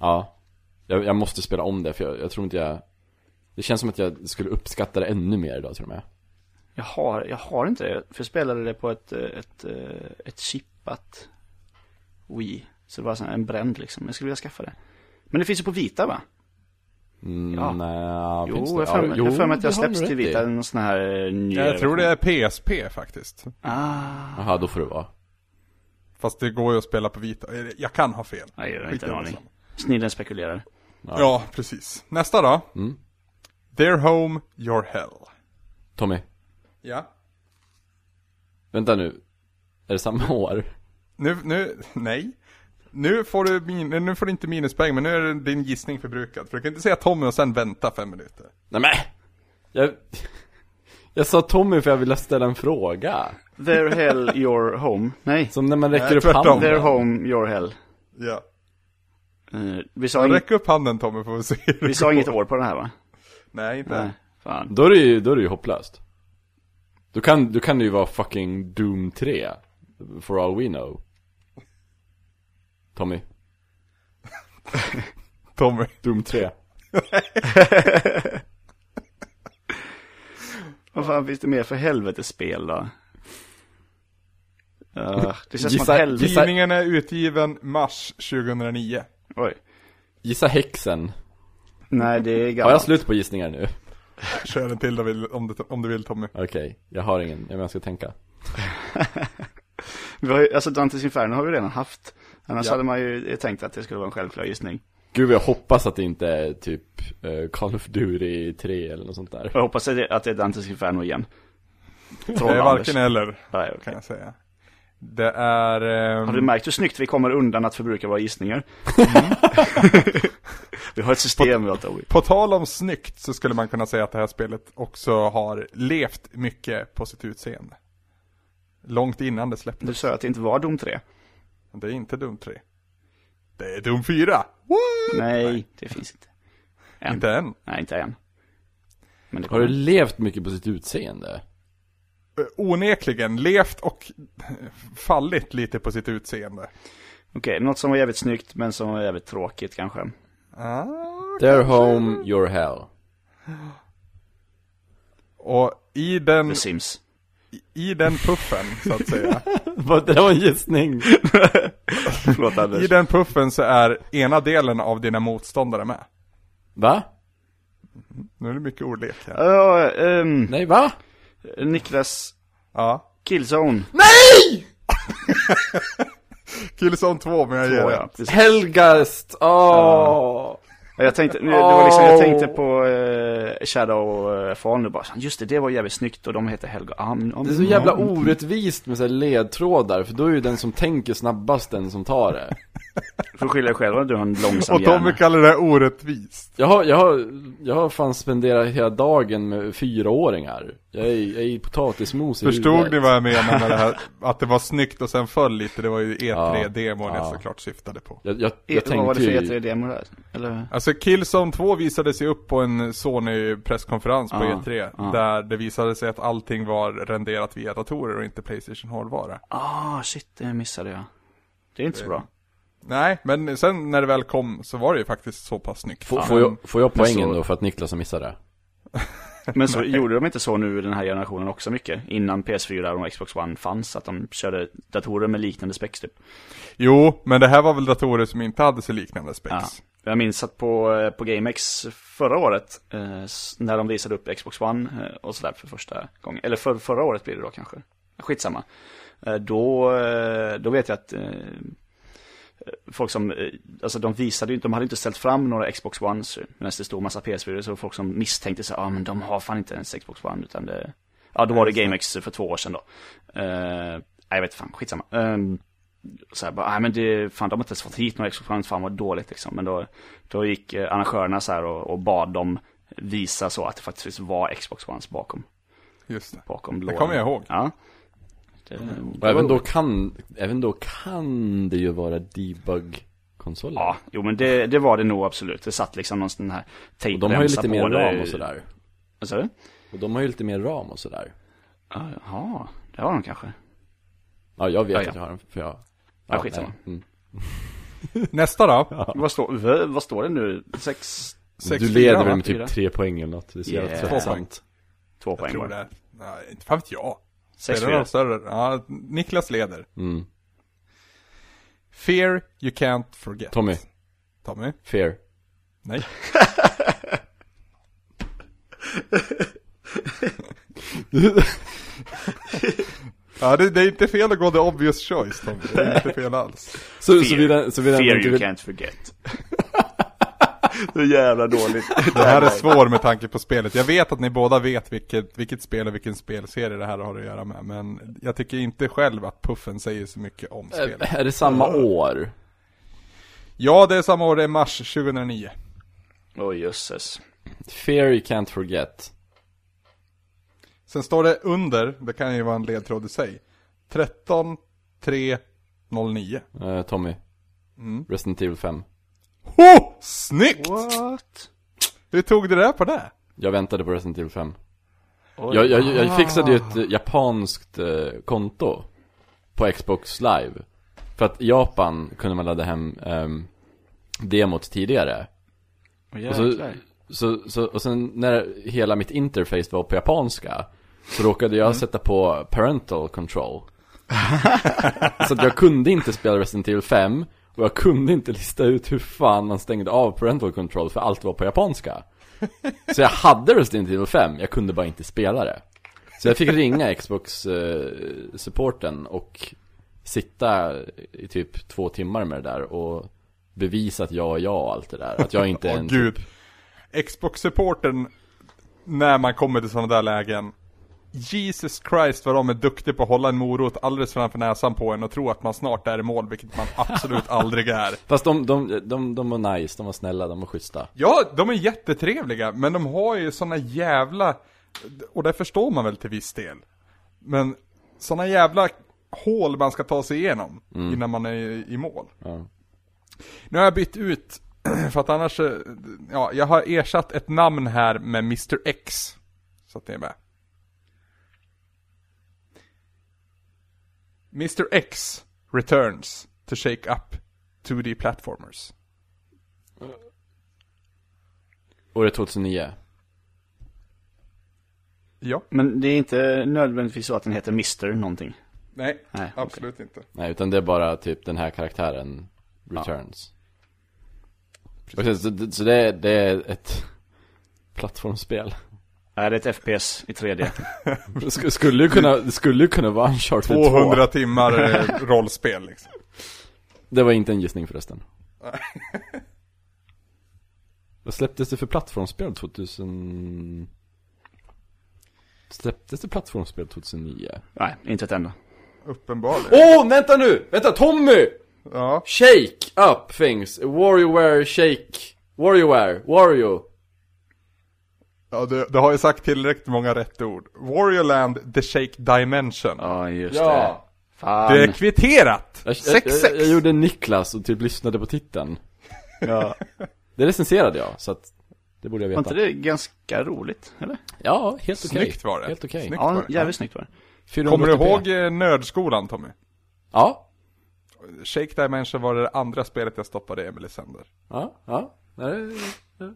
Speaker 3: Ja jag, jag måste spela om det för jag, jag tror inte jag Det känns som att jag skulle uppskatta det ännu mer idag till och med
Speaker 2: Jag har, jag har inte det, för jag spelade det på ett, eh, ett, eh, ett chippat Wii. Så det var sån här en bränd liksom, jag skulle vilja skaffa det. Men det finns ju på vita va?
Speaker 3: mm,
Speaker 2: Ja.
Speaker 3: nej,
Speaker 2: Jo,
Speaker 3: finns det?
Speaker 2: jag har för
Speaker 3: Ja,
Speaker 2: mig- jag har för mig att
Speaker 3: det
Speaker 2: jag
Speaker 3: har du
Speaker 2: släpps till
Speaker 3: rätt i.
Speaker 2: vita, någon sån här eh, ny
Speaker 1: Jag tror det är PSP faktiskt.
Speaker 2: Ah,
Speaker 3: Jaha, då får det vara
Speaker 1: Fast det går ju att spela på vita. Jag kan ha fel.
Speaker 2: nej, jag har
Speaker 1: Skit
Speaker 2: inte
Speaker 1: i
Speaker 2: en
Speaker 1: det alltså.
Speaker 2: aning.
Speaker 1: samma.
Speaker 2: Snillen spekulerar.
Speaker 1: Ja, precis. Nästa då.
Speaker 2: Mm.
Speaker 1: Their home, your hell.
Speaker 3: Tommy,
Speaker 1: Ja.
Speaker 3: vänta nu Är det samma år?
Speaker 1: Nu, nu, nej. Nu får du, min, nu får du inte minuspoäng, men nu är din gissning förbrukad. För du kan inte säga Tommy och sen vänta fem minuter.
Speaker 3: Nej men! Jag, jag sa Tommy för jag ville ställa en fråga.
Speaker 2: Their hell, your home.
Speaker 3: <laughs>
Speaker 2: Nej.
Speaker 3: Som när man räcker
Speaker 1: Nej,
Speaker 3: upp
Speaker 1: tvärtom.
Speaker 3: handen.
Speaker 2: Their home, your hell.
Speaker 1: Ja.
Speaker 2: Eh, Vi sa,
Speaker 1: Men
Speaker 2: inget,
Speaker 1: Räck upp handen Tommy får vi se hur det
Speaker 2: vi sa
Speaker 1: går.
Speaker 2: inget år på den här va?
Speaker 1: Nej, inte
Speaker 2: Nej. Fan.
Speaker 3: Då är det ju, då är det ju hopplöst. Då kan, då kan det ju vara fucking Doom 3. For all we know. Tommy,
Speaker 1: Tommy.
Speaker 3: Doom 3.
Speaker 2: Vad fan finns det mer för helvetespel då? Eh, det känns som
Speaker 3: Gissa-
Speaker 2: att helvete...
Speaker 3: gissa-
Speaker 1: Tidningen är utgiven mars 2009.
Speaker 2: Oj.
Speaker 3: Gissa häxen.
Speaker 2: Nej, det är
Speaker 3: Har jag
Speaker 2: gammalt.
Speaker 3: slut på gissningar nu?
Speaker 1: Kör den till då vill- om du, om du vill Tommy.
Speaker 3: Okej, jag har ingen, men jag ska tänka.
Speaker 2: Vi har ju, alltså Dantes Inferno har vi redan haft. Annars
Speaker 1: Ja.
Speaker 2: hade man ju tänkt att det skulle vara en självklar gissning.
Speaker 3: Gud vad jag hoppas att det inte är typ eh, Call of Duty 3 eller något sånt där.
Speaker 2: Jag hoppas att det, att det är Dantes Inferno igen.
Speaker 1: Det är varken eller,
Speaker 2: Nej, okej.
Speaker 1: kan jag säga. Det är... ehm,
Speaker 2: Har du märkt hur snyggt vi kommer undan att förbruka våra gissningar? Mm. <laughs> vi har ett system, vi har Tobi.
Speaker 1: På tal om snyggt så skulle man kunna säga att det här spelet också har levt mycket på sitt utseende. Långt innan det släpptes.
Speaker 2: Du sa att det inte var Dom 3.
Speaker 1: Det är inte Doom 3. Det är Doom 4! Woo!
Speaker 2: Nej, det finns inte. Än.
Speaker 1: Inte än.
Speaker 2: Nej, inte än. Men det
Speaker 3: Har du
Speaker 2: kommer.
Speaker 3: levt mycket på sitt utseende?
Speaker 1: Eh, Onekligen levt och eh, fallit lite på sitt utseende.
Speaker 2: Okej, något som var jävligt snyggt men som var jävligt tråkigt kanske.
Speaker 1: Ah.
Speaker 3: Their home, your hell.
Speaker 1: Och i den,
Speaker 3: Mm.
Speaker 2: The
Speaker 3: <laughs>
Speaker 2: Sims.
Speaker 1: i den puffen, så att
Speaker 2: <laughs>
Speaker 1: säga.
Speaker 3: <laughs> Vad, det där var en gissning.
Speaker 2: Förlåt
Speaker 1: I
Speaker 2: Anders.
Speaker 1: den puffen så är ena delen av dina motståndare med.
Speaker 3: Va?
Speaker 1: Nu är det mycket ordlek här.
Speaker 2: Ja, ehm,
Speaker 3: Nej, va?
Speaker 2: Niklas
Speaker 1: Ja.
Speaker 2: Killzone.
Speaker 1: Killzone 2, men jag ger
Speaker 2: Två,
Speaker 1: det.
Speaker 2: ja, precis.
Speaker 3: Helgast! Åh!
Speaker 2: Jag tänkte, det var liksom, jag tänkte på eh, Shadow eh, Fall nu bara, så, just det, det var jävligt snyggt och de heter Helga Amn.
Speaker 3: Det är så jävla orättvist med så här ledtrådar, för då är ju den som tänker snabbast den som tar det.
Speaker 2: Får skylla dig själv att du har en långsam
Speaker 1: Och Tommy
Speaker 2: hjärna.
Speaker 1: kallar det här orättvist.
Speaker 3: <laughs> Jag har, jag har, jag har fan spenderat hela dagen med fyraåringar. Jag är, jag är potatismos i
Speaker 1: Förstod
Speaker 3: huvudet.
Speaker 1: ni vad jag menade med det här? Att det var snyggt och sen föll lite, det var ju E3-demon jag
Speaker 3: Ja.
Speaker 1: såklart syftade på.
Speaker 3: Jag, jag,
Speaker 2: E-
Speaker 3: jag
Speaker 2: Vad var
Speaker 3: tänkte
Speaker 2: det för
Speaker 3: ju,
Speaker 2: E3-demo där? Eller?
Speaker 1: Alltså Killzone 2 visade sig upp på en Sony-presskonferens på
Speaker 2: Ja,
Speaker 1: E3. Där det visade sig att allting var renderat via datorer och inte Playstation-hårdvara.
Speaker 2: Ah, shit, det missade jag. Det är inte så bra.
Speaker 1: Nej, men sen när det väl kom så var det ju faktiskt så pass snyggt.
Speaker 3: får, får, jag, får jag poängen
Speaker 2: så-
Speaker 3: då för att Niklas har missat det?
Speaker 2: Men så gjorde de inte så nu i den här generationen också mycket. Innan PS4 och Xbox One fanns, att de körde datorer med liknande specs typ.
Speaker 1: Jo, men det här var väl datorer som inte hade så liknande
Speaker 2: Ja.
Speaker 1: specs.
Speaker 2: Jag minns att på, eh, på GameX förra året, eh, s- när de visade upp Xbox One eh, och sådär för första gången, eller för, förra året blir det då kanske, skitsamma. Eh, Då, eh, då vet jag att eh, folk som, eh, alltså de visade ju inte, de hade inte ställt fram några Xbox Ones medan det stod massa PS4 så var det folk som misstänkte så ja ah, men de har fan inte ens Xbox One utan det, ja då var det GameX för två år sedan då. Eh, nej, jag vet fan, skitsamma. Ehm, så här bara, nej men det, fan de har inte ens fått hit några exkursioner, fan vad dåligt liksom. Men då, då gick eh, arrangörerna så här och, och bad dem visa så att det faktiskt var Xbox Ones bakom,
Speaker 1: Just det.
Speaker 2: bakom
Speaker 1: Det kommer jag ihåg.
Speaker 2: Ja. Det,
Speaker 3: Mm. Och även då kan, även då kan det ju vara debug-konsoler.
Speaker 2: Ja, jo men det, det var det nog absolut. Det satt liksom någon sån här tejp
Speaker 3: och de har ju
Speaker 2: remsa
Speaker 3: lite
Speaker 2: på
Speaker 3: mer
Speaker 2: det.
Speaker 3: ram och sådär.
Speaker 2: Vad sa du?
Speaker 3: Och de har ju lite mer ram och sådär.
Speaker 2: Ja, Jaha, det har de kanske.
Speaker 3: Ja, jag vet
Speaker 2: Ja, ja.
Speaker 3: att jag har en, för jag...
Speaker 2: Ja, skitsamma.
Speaker 3: nej. Mm.
Speaker 1: Nästa då?
Speaker 2: Vad, står, v- vad står det nu? Sex,
Speaker 1: Sex,
Speaker 3: Du
Speaker 1: fyra,
Speaker 3: leder
Speaker 1: va?
Speaker 3: väl med
Speaker 2: Fyra.
Speaker 3: typ tre poäng eller något, det är så jävla
Speaker 2: Yeah.
Speaker 3: tröttsamt.
Speaker 2: två
Speaker 1: Jag
Speaker 2: poäng
Speaker 1: tror
Speaker 2: var det.
Speaker 1: det. Nej, inte fan vet jag.
Speaker 2: Sex,
Speaker 1: Är det någon
Speaker 2: fyra.
Speaker 1: större? Ja, Niklas leder.
Speaker 3: Mm.
Speaker 1: Fear you can't forget.
Speaker 3: Tommy,
Speaker 1: Tommy?
Speaker 3: <laughs> fair.
Speaker 1: Nej. ja, det, det är inte fel att gå the obvious choice Tommy. Det är inte fel alls.
Speaker 3: Så,
Speaker 2: Fear.
Speaker 3: så vida, så vida man
Speaker 2: Fear
Speaker 3: inte
Speaker 2: you
Speaker 3: vill...
Speaker 2: can't forget. Så jävla dåligt.
Speaker 1: Det här är svår med tanke på spelet. Jag vet att ni båda vet vilket, vilket spel och vilken spelserie det här har att göra med. Men jag tycker inte själv att Puffen säger så mycket om spelet.
Speaker 3: Äh, Är det samma år?
Speaker 1: Ja, det är samma år, det är mars 2009.
Speaker 2: Åh oh, jösses.
Speaker 3: Fear you can't forget.
Speaker 1: Sen står det under, det kan ju vara en ledtråd i sig. 13 3 09.
Speaker 3: Eh, Tommy.
Speaker 1: Mm.
Speaker 3: Resident Evil 5.
Speaker 1: Oh, snyggt!
Speaker 2: What?
Speaker 1: Hur tog du det på det?
Speaker 3: Jag väntade på Resident Evil 5.
Speaker 2: Oj.
Speaker 3: Jag, jag,
Speaker 1: Ah.
Speaker 3: jag fixade ju ett eh, japanskt eh, konto på Xbox Live. För att i Japan kunde man ladda hem um, demot tidigare.
Speaker 2: Åh,
Speaker 3: Och, så,
Speaker 2: jäklar.
Speaker 3: så, så, och sen när hela mitt interface var på japanska så råkade
Speaker 1: Mm.
Speaker 3: jag sätta på parental control. <laughs> så att jag kunde inte spela Resident Evil 5 och jag kunde inte lista ut hur fan man stängde av parental control för allt var på japanska. Så jag hade Resident Evil 5, jag kunde bara inte spela det. Så jag fick ringa Xbox-supporten och sitta i typ två timmar med det där och bevisa att jag är jag och allt det där. Att jag inte är
Speaker 1: Åh
Speaker 3: en typ
Speaker 1: gud. Xbox-supporten, när man kommer till sådana där lägen. Jesus Christ vad de är duktiga på att hålla en morot alldeles framför näsan på en och tro att man snart är i mål, vilket man absolut <laughs> aldrig är.
Speaker 3: Fast de, de, de, de var nice, de var snälla, de var schyssta.
Speaker 1: Ja, de är jättetrevliga, men de har ju såna jävla, och det förstår man väl till viss del. Men såna jävla hål man ska ta sig igenom innan man är i- i mål.
Speaker 3: Ja.
Speaker 1: Nu har jag bytt ut, <clears throat> för att annars, eh, ja, jag har ersatt ett namn här med Mr X. Så att ni är med. Mr X returns to shake up 2D platformers.
Speaker 3: Året 2009.
Speaker 1: Ja,
Speaker 2: Men det är inte nödvändigtvis så att den heter Mr. någonting.
Speaker 1: nej,
Speaker 2: Nej,
Speaker 1: absolut inte.
Speaker 3: Nej, utan det är bara typ den här karaktären, Returns. Och sen, så så det, är- det är ett plattformsspel.
Speaker 2: Är det är ett FPS i <laughs> 3D?
Speaker 3: Sk- Skulle ju kunna, det skulle ju kunna vara Uncharted 2.
Speaker 1: 200 timmar eh, rollspel liksom.
Speaker 3: Det var inte en gissning <laughs> förresten. Vad släpptes det för plattformsspel 2000? Släpptes det plattformsspel 2009?
Speaker 2: Nej, inte ett enda.
Speaker 1: Uppenbarligen.
Speaker 3: Åh, oh, vänta nu! Vänta, Tommy!
Speaker 1: Ja.
Speaker 3: Shake up things. Warrior shake. Warrior. Wario.
Speaker 1: ja, du, du har ju sagt tillräckligt många rätt ord. Warriorland, The Shake Dimension.
Speaker 2: Ja, just det.
Speaker 3: Ja.
Speaker 2: Fan.
Speaker 1: Det är kvitterat!
Speaker 3: Jag, jag, jag, jag
Speaker 1: 6-6!
Speaker 3: gjorde Niklas och typ lyssnade på titeln.
Speaker 2: Ja.
Speaker 3: Det recenserade jag, så att det borde jag
Speaker 2: Var
Speaker 3: veta.
Speaker 2: inte det ganska roligt? Eller?
Speaker 3: Ja, helt okej.
Speaker 1: Snyggt var det.
Speaker 3: Helt okej.
Speaker 1: Snyggt. var
Speaker 2: Ja,
Speaker 1: det.
Speaker 2: jävligt snyggt var det.
Speaker 3: 480p.
Speaker 1: Kommer du ihåg eh, Nördskolan Tommy?
Speaker 3: Ja.
Speaker 1: Shake Dimension var det andra spelet jag stoppade Emil i sänder.
Speaker 3: Ja, ja. Nej, det- det-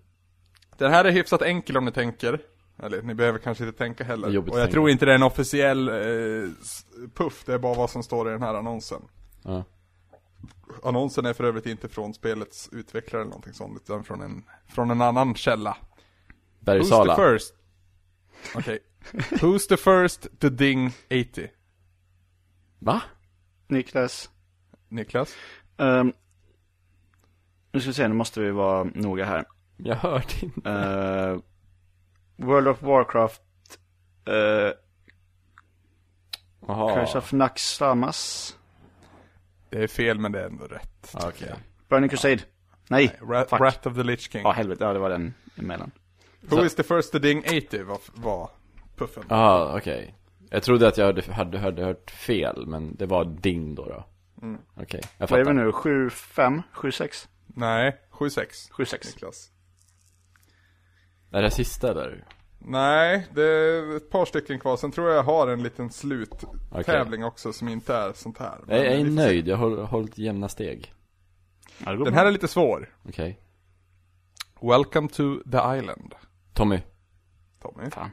Speaker 1: Den här är hyfsat enkel om ni tänker. Eller ni behöver kanske inte tänka heller.
Speaker 3: Det är
Speaker 1: Och
Speaker 3: jobbigt
Speaker 1: jag
Speaker 3: att tänka.
Speaker 1: tror inte det är en officiell eh, s- puff, det är bara vad som står i den här annonsen.
Speaker 3: Ja.
Speaker 1: Annonsen är för övrigt inte från spelets utvecklare eller någonting sånt, utan från en, från en annan källa. Who's the
Speaker 3: Bergsala.
Speaker 1: first? Okej. Who's the first to ding 80?
Speaker 3: Va?
Speaker 2: Niklas.
Speaker 1: Niklas?
Speaker 2: ehm, nu ska vi se, nu måste vi vara noga här.
Speaker 3: Jag hörde inte.
Speaker 2: Eh, World of Warcraft uh,
Speaker 3: Jaha.
Speaker 2: Curse of Naxxramas
Speaker 1: Det är fel men det är ändå rätt.
Speaker 3: Okej.
Speaker 2: Burning Crusade Nej,
Speaker 1: Ra-
Speaker 2: fuck.
Speaker 1: Rat of the Lich King.
Speaker 2: Ja helvete, ja, det var den emellan
Speaker 1: Who is the first to ding 80 var, var puffen.
Speaker 3: Ja, okej. Jag trodde att jag hade, hade, hade hört fel, men det var ding då. då.
Speaker 1: Mm.
Speaker 3: Okej, jag
Speaker 2: Vad
Speaker 3: fattar.
Speaker 2: är vi nu? 7-5? 7-6?
Speaker 1: Nej, 7-6.
Speaker 2: 7-6
Speaker 1: Niklas.
Speaker 3: Är det sista eller?
Speaker 1: Nej, det är ett par stycken kvar. Sen tror jag jag har en liten sluttävling också som inte är sånt här. Men
Speaker 3: Jag, jag är
Speaker 1: vi får se.
Speaker 3: nöjd, jag har hållit jämna steg.
Speaker 2: ja, det går
Speaker 1: Den
Speaker 2: bra.
Speaker 1: här är lite svår.
Speaker 3: Okej.
Speaker 1: Welcome to the island,
Speaker 3: Tommy,
Speaker 1: Tommy.
Speaker 2: Fan.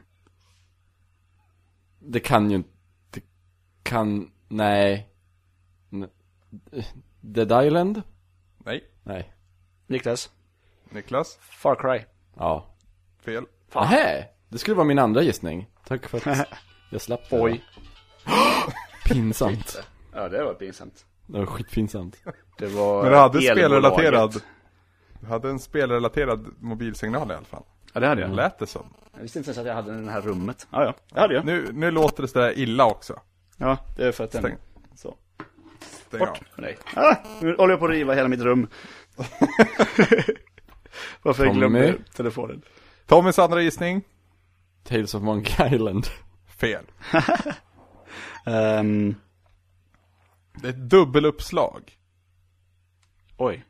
Speaker 3: det kan ju inte... det Kan... Nej. N- Dead Island?
Speaker 1: Nej,
Speaker 3: Nej.
Speaker 2: Niklas
Speaker 1: Niklas.
Speaker 2: Far Cry
Speaker 3: Ja.
Speaker 1: Fel.
Speaker 3: Nähä! Det skulle vara min andra gissning. Tack för att <laughs> jag slapp det.
Speaker 2: Oj.
Speaker 3: <gasps> Pinsamt.
Speaker 2: Ja det var pinsamt
Speaker 3: Det var skitpinsamt.
Speaker 2: Det var
Speaker 1: Men du hade
Speaker 2: elbolaget.
Speaker 1: spelrelaterad. Du hade en spelrelaterad mobilsignal i alla fall.
Speaker 2: Ja det hade jag
Speaker 1: Lät det som.
Speaker 2: Jag visste inte ens att jag hade den i det här rummet Ja ja, det hade jag
Speaker 1: Nu, nu låter det sådär illa också.
Speaker 2: Ja, det är för att den
Speaker 1: Stäng.
Speaker 2: Så,
Speaker 1: Stäng av.
Speaker 2: bort Nej ah, Nu håller jag på att riva hela mitt <laughs> rum Varför jag
Speaker 3: Tommy.
Speaker 2: glömde telefonen
Speaker 1: Tommys andra gissning.
Speaker 3: Tales of Monkey Island.
Speaker 1: Fel.
Speaker 2: Ehm,
Speaker 1: Det är ett dubbeluppslag.
Speaker 2: oj.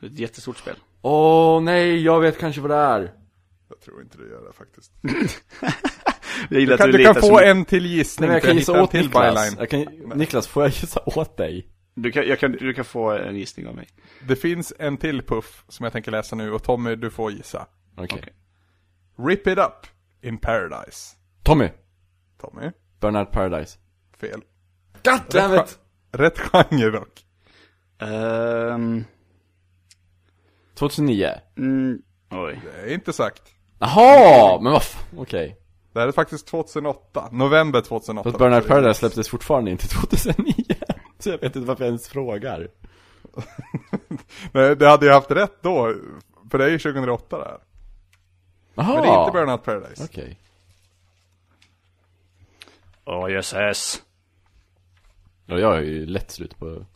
Speaker 2: Det är Ett jättestort spel.
Speaker 3: Åh nej, jag vet kanske vad det är.
Speaker 1: Jag tror inte du gör det faktiskt.
Speaker 2: Jag gillar
Speaker 1: Du kan,
Speaker 2: att du,
Speaker 1: du kan
Speaker 2: litar
Speaker 1: få
Speaker 2: så
Speaker 1: en till gissning
Speaker 3: Nej, men jag
Speaker 1: för
Speaker 3: kan
Speaker 1: jag
Speaker 3: gissa
Speaker 1: hittar en
Speaker 3: åt
Speaker 1: till
Speaker 3: Niklas.
Speaker 1: byline.
Speaker 3: Jag kan, Niklas, får jag gissa åt dig?
Speaker 2: Du kan, jag kan, du kan få en gissning av mig.
Speaker 1: Det finns en till puff som jag tänker läsa nu och Tommy, du får gissa.
Speaker 3: Okej.
Speaker 2: Okej.
Speaker 1: Rip it up in paradise.
Speaker 3: Tommy!
Speaker 1: Tommy,
Speaker 3: Bernard Paradise.
Speaker 1: fel.
Speaker 3: God damn it!
Speaker 1: Rätt genre dock.
Speaker 2: Ehm,
Speaker 3: 2009.
Speaker 2: mm, oj.
Speaker 1: Det är inte sagt.
Speaker 3: Jaha! Men vad f- Okej.
Speaker 1: Det här är faktiskt 2008. November 2008.
Speaker 3: Fast Bernard Paradise släpptes fortfarande inte <laughs> 2009. Så jag vet inte varför jag ens frågar.
Speaker 1: Nej, det hade jag haft rätt då. För det är ju 2008 det här.
Speaker 3: Jaha!
Speaker 1: Men det är inte Burnout Paradise.
Speaker 3: Okej.
Speaker 2: Åh, jösses.
Speaker 3: Ja, jag är ju lätt slut <laughs> på...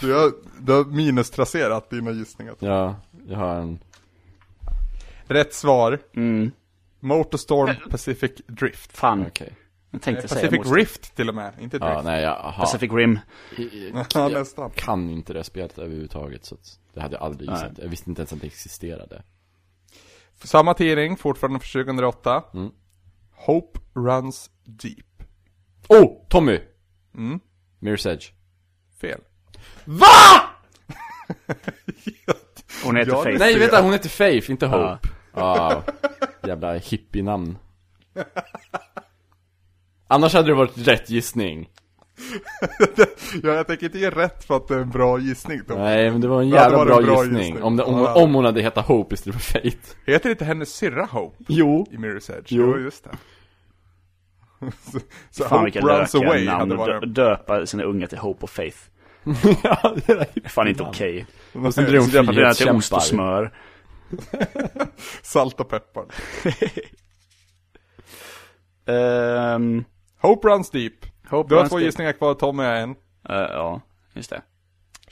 Speaker 1: Du, har, du har minustracerat dina gissningar.
Speaker 3: ja, jag har en...
Speaker 1: Rätt svar.
Speaker 2: Mm,
Speaker 1: Motorstorm Pacific Drift.
Speaker 2: fan.
Speaker 3: Okej.
Speaker 2: Jag tänkte säga
Speaker 1: Pacific
Speaker 2: motstånd.
Speaker 1: Rift till och med, inte Drift.
Speaker 3: Ja, nej, jag, aha.
Speaker 2: Pacific Rim.
Speaker 1: <laughs> Ja,
Speaker 3: jag
Speaker 1: nästan.
Speaker 3: kan inte det spelet överhuvudtaget, så att det hade jag aldrig gissat. Jag visste inte ens att det existerade.
Speaker 1: Samma tidning, fortfarande för 2008.
Speaker 3: Mm.
Speaker 1: Hope Runs Deep.
Speaker 3: Oh! Tommy!
Speaker 1: Mm.
Speaker 3: Mirror's Edge.
Speaker 1: Fel.
Speaker 3: VA?
Speaker 2: Hon
Speaker 1: <laughs>
Speaker 2: heter
Speaker 1: Ja,
Speaker 2: Faith.
Speaker 3: Nej, vänta, hon heter Faith, inte
Speaker 2: Ja.
Speaker 3: Hope. Ja. Jävla hippie-namn. Annars hade det varit rätt gissning.
Speaker 1: ja, jag tänker inte ge rätt för att det är en bra gissning. Då.
Speaker 3: Nej, men det var en
Speaker 1: Det hade
Speaker 3: jävla
Speaker 1: varit
Speaker 3: bra,
Speaker 1: en bra
Speaker 3: gissning.
Speaker 1: gissning.
Speaker 3: Om, det, om,
Speaker 1: Ja, det
Speaker 3: om hon hade hetat Hope istället för Faith.
Speaker 1: Heter inte hennes syrra Hope
Speaker 3: Jo.
Speaker 1: i Mirror's Edge?
Speaker 3: Jo.
Speaker 1: just det. <laughs> så så
Speaker 2: Fan
Speaker 1: Hope
Speaker 2: vilka
Speaker 1: Runs
Speaker 2: lökiga
Speaker 1: Away
Speaker 2: namn
Speaker 1: hade
Speaker 2: att dö- <laughs>
Speaker 1: varit...
Speaker 2: döpa sina unga till Hope och Faith.
Speaker 3: <laughs> ja, det var hippie-
Speaker 2: Fan inte okej. Okay.
Speaker 1: Vad
Speaker 3: Sen
Speaker 1: säger
Speaker 3: blir
Speaker 1: du?
Speaker 3: hon
Speaker 2: Döpa till till ost och
Speaker 3: frihetskämpar.
Speaker 2: smör.
Speaker 1: Salt och peppar.
Speaker 2: Ehm,
Speaker 1: Hope Runs Deep.
Speaker 2: Hope
Speaker 1: Du har
Speaker 2: Runs
Speaker 1: två
Speaker 2: Deep.
Speaker 1: gissningar kvar, Tommy har en.
Speaker 2: eh, ja, just det.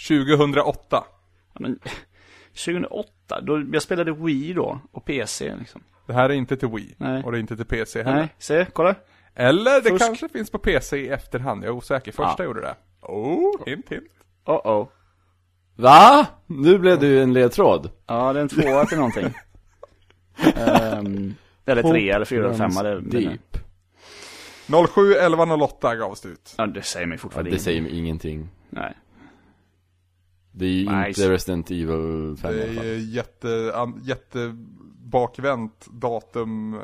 Speaker 1: 2008.
Speaker 2: Ja, men, <laughs> 2008, då, jag spelade Wii då och PC liksom.
Speaker 1: Det här är inte till Wii
Speaker 2: Nej.
Speaker 1: och det är inte till PC heller.
Speaker 2: Nej, se, kolla.
Speaker 1: Eller det
Speaker 2: Fusk.
Speaker 1: kanske finns på PC i efterhand, jag är osäker. Första gjorde det. Oh, hint hint.
Speaker 2: Oh oh.
Speaker 3: Va? Nu blev det ju en ledtråd.
Speaker 2: Ja, det är en tvåa till någonting. Ehm, eller tre, eller fyra, eller femma. Det, det,
Speaker 3: Deep.
Speaker 1: 07 11 08 gavs det ut.
Speaker 2: ja, det säger mig fortfarande
Speaker 3: Det
Speaker 2: ingenting.
Speaker 3: säger mig ingenting.
Speaker 2: Nej.
Speaker 3: Det är ju
Speaker 2: Nice.
Speaker 3: inte Resident Evil 5 i
Speaker 1: Det
Speaker 3: alla fall.
Speaker 1: är jätte, an, jätte bakvänt datum eh,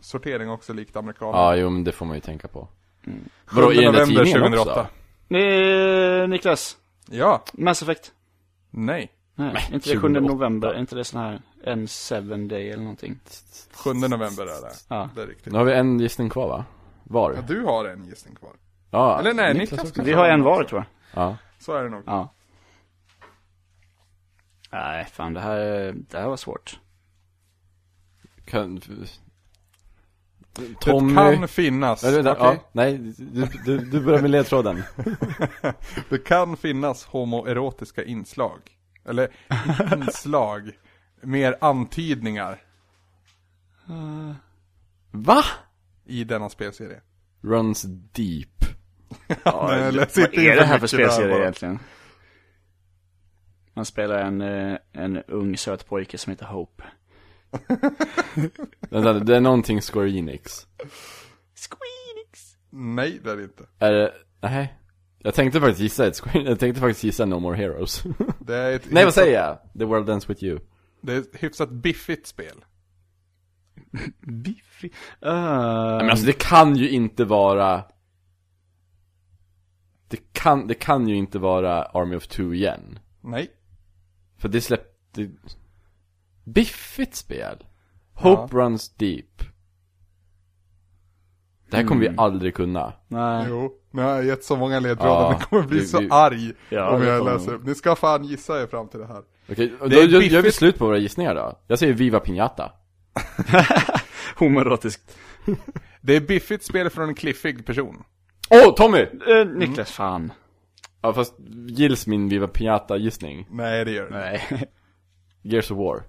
Speaker 1: sortering också likt amerikanerna.
Speaker 3: Ja, jo men det får man ju tänka på.
Speaker 1: Sjunde
Speaker 3: Vadå, i den där
Speaker 1: november
Speaker 3: tidningen också?
Speaker 2: Eh, Niklas,
Speaker 1: Ja,
Speaker 2: Mass Effect.
Speaker 1: nej.
Speaker 2: Nej,
Speaker 3: Nej,
Speaker 2: inte det 7
Speaker 3: 28.
Speaker 2: november, är inte det sån här en seven day eller någonting?
Speaker 1: 7 november är det.
Speaker 2: Ja.
Speaker 1: Det är riktigt.
Speaker 3: Nu har vi en gissning kvar va?
Speaker 1: Ja,
Speaker 3: Var?
Speaker 1: du har en gissning kvar.
Speaker 3: Ja,
Speaker 1: Eller nej, Niklas
Speaker 3: också.
Speaker 2: Vi har en var tror jag.
Speaker 3: Ja.
Speaker 1: Så är det nog.
Speaker 2: Ja. Nej, fan det här, det här var svårt.
Speaker 3: Kan... Tommy...
Speaker 1: Det kan finnas.
Speaker 3: Nej, vänta,
Speaker 1: Okej.
Speaker 3: ja, nej du, du, du börjar med ledtråden.
Speaker 1: Det kan finnas homoerotiska inslag. Eller
Speaker 3: <laughs>
Speaker 1: inslag. mer antydningar
Speaker 3: <laughs> Va?
Speaker 1: i denna spelserie.
Speaker 3: Runs deep.
Speaker 2: Ja,
Speaker 1: Nej,
Speaker 2: det-
Speaker 1: läs
Speaker 2: vad
Speaker 1: inte in
Speaker 2: är
Speaker 1: för
Speaker 2: det här för
Speaker 1: mycket där
Speaker 2: spelserie
Speaker 1: bara.
Speaker 2: egentligen? Man spelar en, eh, en ung söt pojke som heter Hope.
Speaker 3: Vänta, det är någonting Square Enix.
Speaker 2: Squeenix!
Speaker 1: Nej, det är det inte.
Speaker 3: Är det, nej. Jag tänkte faktiskt gissa ett Square Jag tänkte faktiskt gissa No More Heroes. <laughs>
Speaker 1: Det är ett
Speaker 3: nej, vad
Speaker 1: hyfsat-
Speaker 3: säger jag? The World Ends With You.
Speaker 1: Det är ett hyfsat biffigt spel.
Speaker 2: Biffy. Ah,
Speaker 3: Nej, men alltså det kan ju inte vara... Det kan, det kan ju inte vara Army of Two igen.
Speaker 1: Nej.
Speaker 3: För det släppte... Biffigt spel. Hope Runs Deep. Det här kommer vi aldrig kunna.
Speaker 2: nej.
Speaker 1: Jo. Nu har jag gett så många ledtrådar,
Speaker 3: Ja,
Speaker 1: ni kommer bli
Speaker 3: vi-
Speaker 1: så
Speaker 3: vi-
Speaker 1: arg
Speaker 2: Ja,
Speaker 1: om
Speaker 2: det
Speaker 1: jag
Speaker 2: kommer
Speaker 1: läser upp. Ni ska fan gissa er fram till det här.
Speaker 3: Okej, då
Speaker 1: är
Speaker 3: gör- gör vi
Speaker 1: biffigt.
Speaker 3: slut på våra gissningar då. Jag säger Viva Piñata.
Speaker 2: <laughs> Homoerotiskt.
Speaker 1: Det är biffigt spel från en kliffig person.
Speaker 3: Åh, oh, Tommy!
Speaker 2: Eh, Niklas, fan.
Speaker 3: Ja, fast gills min Viva Piñata gissning
Speaker 1: Nej, det gör det inte.
Speaker 2: Nej.
Speaker 3: Gears of War.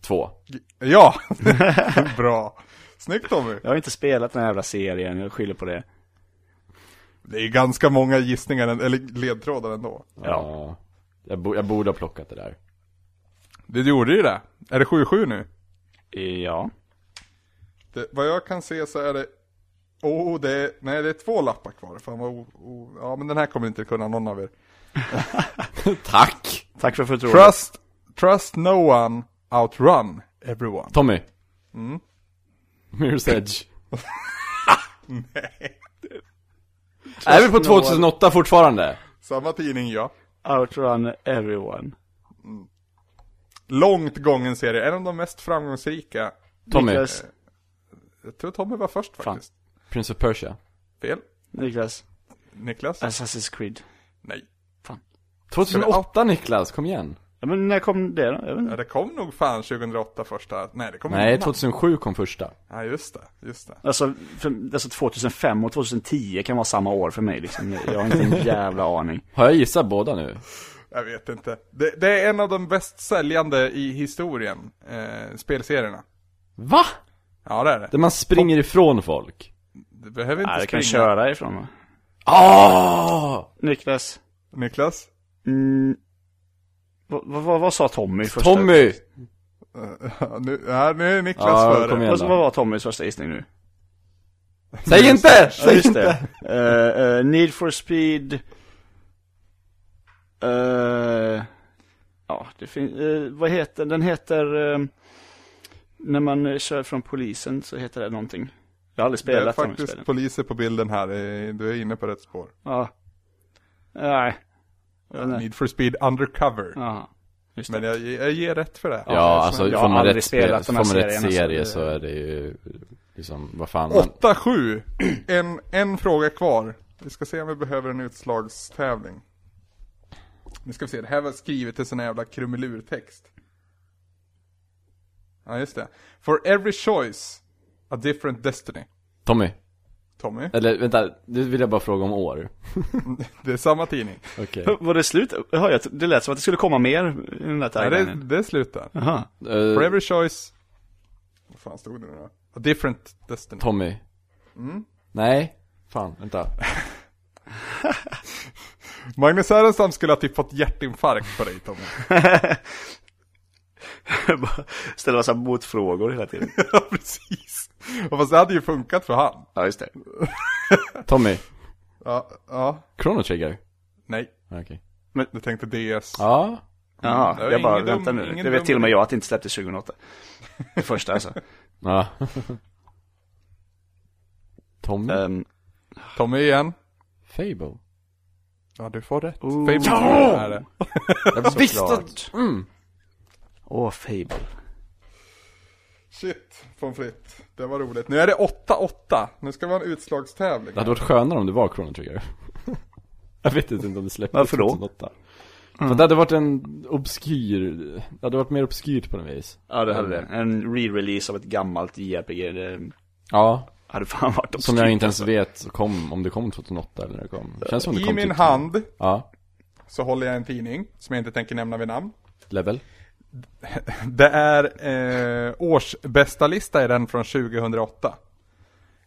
Speaker 3: Två.
Speaker 2: <laughs>
Speaker 1: Ja! <laughs> Bra. Snyggt Tommy.
Speaker 2: Jag har inte spelat den här jävla serien, jag skyller på det.
Speaker 1: Det är ganska många gissningar, eller ledtrådar ändå.
Speaker 3: Ja. Jag, bo, jag borde ha plockat det där.
Speaker 1: Det gjorde ju det. Är det 7-7 nu?
Speaker 2: Ja.
Speaker 1: Det, vad jag kan se så är det... Oh, det är, nej det är två lappar kvar. Fan vad o, o, Ja men den här kommer inte kunna någon av er.
Speaker 3: Tack!
Speaker 2: Tack för förtroendet.
Speaker 1: Trust, trust no one, outrun everyone.
Speaker 3: Tommy. Mm. Mirror's Edge. Är vi på 2008 fortfarande?
Speaker 1: Samma tidning ja.
Speaker 2: Outrun everyone.
Speaker 1: Långt gången serie, en av de mest framgångsrika.
Speaker 3: Tommy.
Speaker 2: Niklas,
Speaker 1: Jag tror Tommy var först faktiskt.
Speaker 3: Prince of Persia.
Speaker 1: Fel.
Speaker 2: Niklas,
Speaker 1: Niklas?
Speaker 2: Assassin's Creed.
Speaker 1: Nej.
Speaker 3: 2008 Niklas, kom igen.
Speaker 2: Ja, men när kom det då? Jag vet
Speaker 1: Ja,
Speaker 2: inte.
Speaker 1: det kom nog fan 2008 första. Nej det kom
Speaker 3: Nej,
Speaker 1: innan.
Speaker 3: 2007 kom första.
Speaker 1: Ja just det, just det.
Speaker 2: Alltså, för, alltså 2005 och 2010 kan vara samma år för mig liksom. Jag jag har inte
Speaker 3: <laughs>
Speaker 2: en jävla aning.
Speaker 3: Har jag gissat båda nu?
Speaker 1: Jag vet inte. Det, det är en av de bäst säljande i historien, eh, spelserierna.
Speaker 3: Va?
Speaker 1: Ja det är det.
Speaker 3: Där man springer ifrån folk.
Speaker 1: Du behöver inte
Speaker 2: Nej, du
Speaker 1: springa.
Speaker 2: kan köra ifrån va?
Speaker 3: Ah!
Speaker 2: Niklas,
Speaker 1: Niklas?
Speaker 2: mm, vad, vad, vad, vad sa Tommy först?
Speaker 3: Tommy!
Speaker 1: Ja, Eh, nu, ja, nu är Niklas
Speaker 3: Ja,
Speaker 1: före.
Speaker 3: kom igen.
Speaker 2: Vad, vad var Tommys första gissning nu?
Speaker 3: Säg inte!
Speaker 2: Ja,
Speaker 3: Säg
Speaker 2: just
Speaker 3: inte!
Speaker 2: det. Eh, eh, need for speed. Eh, ja, det finns, eh, vad heter, den heter, eh, när man eh, kör från polisen så heter det någonting. Jag har aldrig
Speaker 1: Det är
Speaker 2: spelat de här
Speaker 1: faktiskt
Speaker 2: spelen.
Speaker 1: poliser på bilden här, eh, du är inne på rätt spår.
Speaker 2: Ja. Nej. Jag vet inte.
Speaker 1: Need for speed undercover.
Speaker 2: Ja. Just
Speaker 1: Men
Speaker 2: det.
Speaker 1: jag, jag ger rätt för det.
Speaker 3: Ja,
Speaker 1: men-
Speaker 3: alltså
Speaker 2: jag
Speaker 3: får
Speaker 2: har
Speaker 3: man
Speaker 2: aldrig
Speaker 3: rätt,
Speaker 2: spelat
Speaker 3: spel,
Speaker 2: de
Speaker 3: får
Speaker 2: här
Speaker 3: man rätt
Speaker 2: serierna, så
Speaker 3: serie
Speaker 2: det-
Speaker 3: så är det ju liksom, vad fan. Man,
Speaker 1: 8-7. En, en fråga kvar. Vi ska se om vi behöver en utslagstävling. Nu ska vi se, det här var skrivet i sån här jävla krumelurtext. Ja, just det. For every choice, a different destiny.
Speaker 3: Tommy,
Speaker 1: Tommy,
Speaker 3: eller vänta, nu vill jag bara fråga om år.
Speaker 1: <laughs> det är samma tidning.
Speaker 2: <laughs>
Speaker 3: Okej.
Speaker 2: Hör, Var det slut? Hör jag, det lät som att det skulle komma mer i den där
Speaker 1: Nej, det,
Speaker 2: taglinen.
Speaker 1: det slutar.
Speaker 2: Jaha.
Speaker 1: For
Speaker 3: Eh,
Speaker 1: every choice... Vad fan stod det nu då? A different destiny.
Speaker 3: Tommy.
Speaker 2: Mm?
Speaker 3: Nej, fan, vänta.
Speaker 1: Magnus Härenstam skulle ha typ fått hjärtinfarkt på dig <laughs> Tommy.
Speaker 2: Bara Ställa massa motfrågor hela tiden.
Speaker 1: ja, precis. Och fast det hade ju funkat för han.
Speaker 2: Ja, just det.
Speaker 3: Tommy,
Speaker 1: Ja, ja,
Speaker 3: Chrono Trigger.
Speaker 1: nej.
Speaker 3: Okej.
Speaker 1: Du tänkte DS.
Speaker 3: Ja,
Speaker 2: Jaha,
Speaker 1: det var
Speaker 2: jag bara,
Speaker 1: ingen dum-
Speaker 2: vänta nu.
Speaker 1: ingen
Speaker 2: Det vet
Speaker 1: dum-
Speaker 2: till och med jag att det inte släpptes 2008. Det
Speaker 1: <laughs>
Speaker 2: första alltså.
Speaker 3: ja. <laughs> Tommy,
Speaker 2: Ehm,
Speaker 1: Tommy igen.
Speaker 3: Fable.
Speaker 1: Ja, du får rätt.
Speaker 2: Ooh.
Speaker 1: Fable
Speaker 3: Ja!
Speaker 1: är det.
Speaker 3: Jag visste
Speaker 2: såklart.
Speaker 3: att... Mm.
Speaker 2: Åh, Fable.
Speaker 1: Shit, pommes frites. Det var roligt. Nu är det 8-8. Nu ska vi ha en utslagstävling.
Speaker 3: Det hade varit skönare om det var Chrono Trigger. <laughs> Jag vet inte om det släpptes
Speaker 2: Varför då?
Speaker 3: 2008. För det hade varit en obskyr, det hade varit mer obskyrt på något vis.
Speaker 2: Ja, det hade det. En re-release av ett gammalt JRPG. Det
Speaker 3: Ja,
Speaker 2: hade fan varit obskyrt.
Speaker 3: som jag inte ens vet så kom, om det kom 2008 eller när det kom. Det känns som det
Speaker 1: I
Speaker 3: kom
Speaker 1: min
Speaker 3: typ-
Speaker 1: hand
Speaker 3: Ja,
Speaker 1: så håller jag en tidning som jag inte tänker nämna vid namn.
Speaker 3: level.
Speaker 1: Det är eh, årsbästa lista är den från 2008.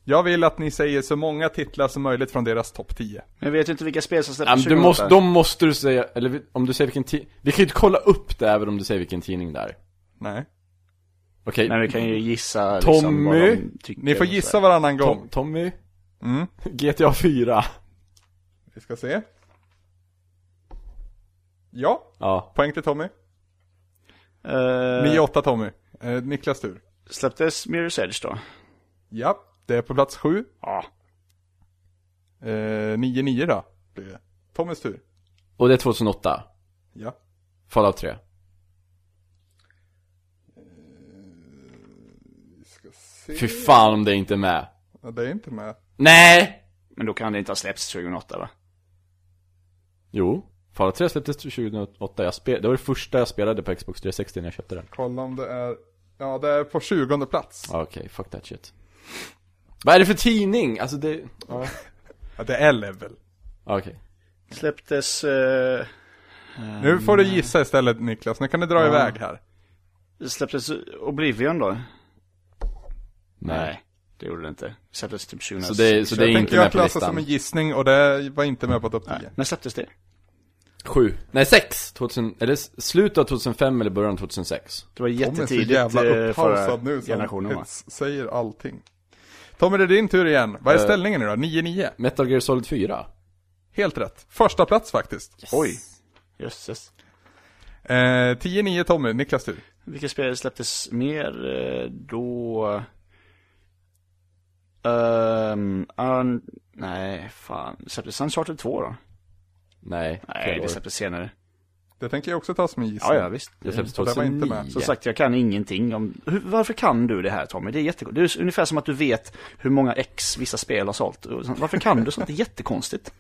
Speaker 1: Jag vill att ni säger så många titlar som möjligt från deras topp 10.
Speaker 2: Men jag vet ju inte vilka spel som
Speaker 3: Ja, men
Speaker 2: släpptes
Speaker 3: du
Speaker 2: 2008.
Speaker 3: måste, de måste du säga, eller vi- om du säger vilken tidning, vi kan ju inte kolla upp det även om du säger vilken tidning det är.
Speaker 1: Nej.
Speaker 3: Okej,
Speaker 2: Men vi kan ju gissa liksom, vad
Speaker 3: Tommy,
Speaker 2: de tycker.
Speaker 1: Ni får
Speaker 2: och
Speaker 1: gissa
Speaker 2: sådär.
Speaker 1: varannan
Speaker 3: Tom,
Speaker 1: gång.
Speaker 3: Tommy, <laughs>
Speaker 1: Mm,
Speaker 3: GTA 4.
Speaker 1: vi ska se. Ja,
Speaker 3: Ja,
Speaker 1: poäng till Tommy.
Speaker 2: Eh,
Speaker 1: 9-8 Tommy. Eh, Niklas tur.
Speaker 2: släpptes Mirror's Edge då?
Speaker 1: Ja, det är på plats 7.
Speaker 2: Ja.
Speaker 1: Eh, 9-9 då. blir det. Tommys tur.
Speaker 3: och det är 2008.
Speaker 1: Ja.
Speaker 3: Fallout 3.
Speaker 1: Vi ska se.
Speaker 3: Fy fan om det inte är med.
Speaker 1: Ja, det är inte med.
Speaker 3: Nej!
Speaker 2: Men då kan det inte ha släppts 2008 va?
Speaker 3: Jo, Fallout 3 släpptes 2008, jag spel, det var det första jag spelade på Xbox 360 när jag köpte den
Speaker 1: Kolla om det är... Ja, det är på 20 plats.
Speaker 3: Okej, fuck that shit Vad är det för tidning? Alltså det...
Speaker 1: Ja, det är level.
Speaker 3: Okej
Speaker 2: Släpptes... eh,
Speaker 1: Mm. Nu får du gissa istället Niklas, nu kan du dra iväg här.
Speaker 2: Släpptes Oblivion då? Nej, det gjorde det inte. Släpptes typ 2000.
Speaker 3: Så det, så
Speaker 1: Så
Speaker 3: det är
Speaker 1: jag tänker
Speaker 3: inte
Speaker 1: jag
Speaker 3: med på
Speaker 1: klassar som
Speaker 3: listan?
Speaker 1: en gissning och det var inte med på topp 10.
Speaker 2: Nej. När släpptes det?
Speaker 3: Sju. Nej, sex! 2000, eller s- slutet av 2005 eller början av 2006.
Speaker 2: Det var
Speaker 1: Tom är så
Speaker 2: jättetidigt
Speaker 1: jävla
Speaker 2: eh, förra
Speaker 1: upphausad nu som
Speaker 2: generationen va?
Speaker 1: hets, säger allting. Tommy, det är din tur igen. Vad är
Speaker 3: Eh.
Speaker 1: ställningen idag? 9-9.
Speaker 3: Metal Gear Solid 4.
Speaker 1: Helt rätt. Första plats faktiskt.
Speaker 2: Oj. Jösses.
Speaker 1: Eh, 10-9 Tommy, Niklas tur.
Speaker 2: Vilka spel släpptes mer eh, då? Ehm, un... Nej, fan. Släpptes Uncharted 2 då?
Speaker 3: Nej,
Speaker 2: Nej,
Speaker 3: fel
Speaker 2: det
Speaker 3: år.
Speaker 2: släpptes senare.
Speaker 1: Det tänker jag också ta som en gissning.
Speaker 2: Ja, ja, visst.
Speaker 3: Det släpptes
Speaker 1: Och det var inte
Speaker 3: 2009.
Speaker 1: med.
Speaker 2: Som sagt, jag kan ingenting om... Hur, varför kan du det här Tommy? Det är jättekonstigt. Det är s- ungefär som att du vet hur många ex vissa spel har sålt. Och sånt. Varför kan du sånt? Det är jättekonstigt.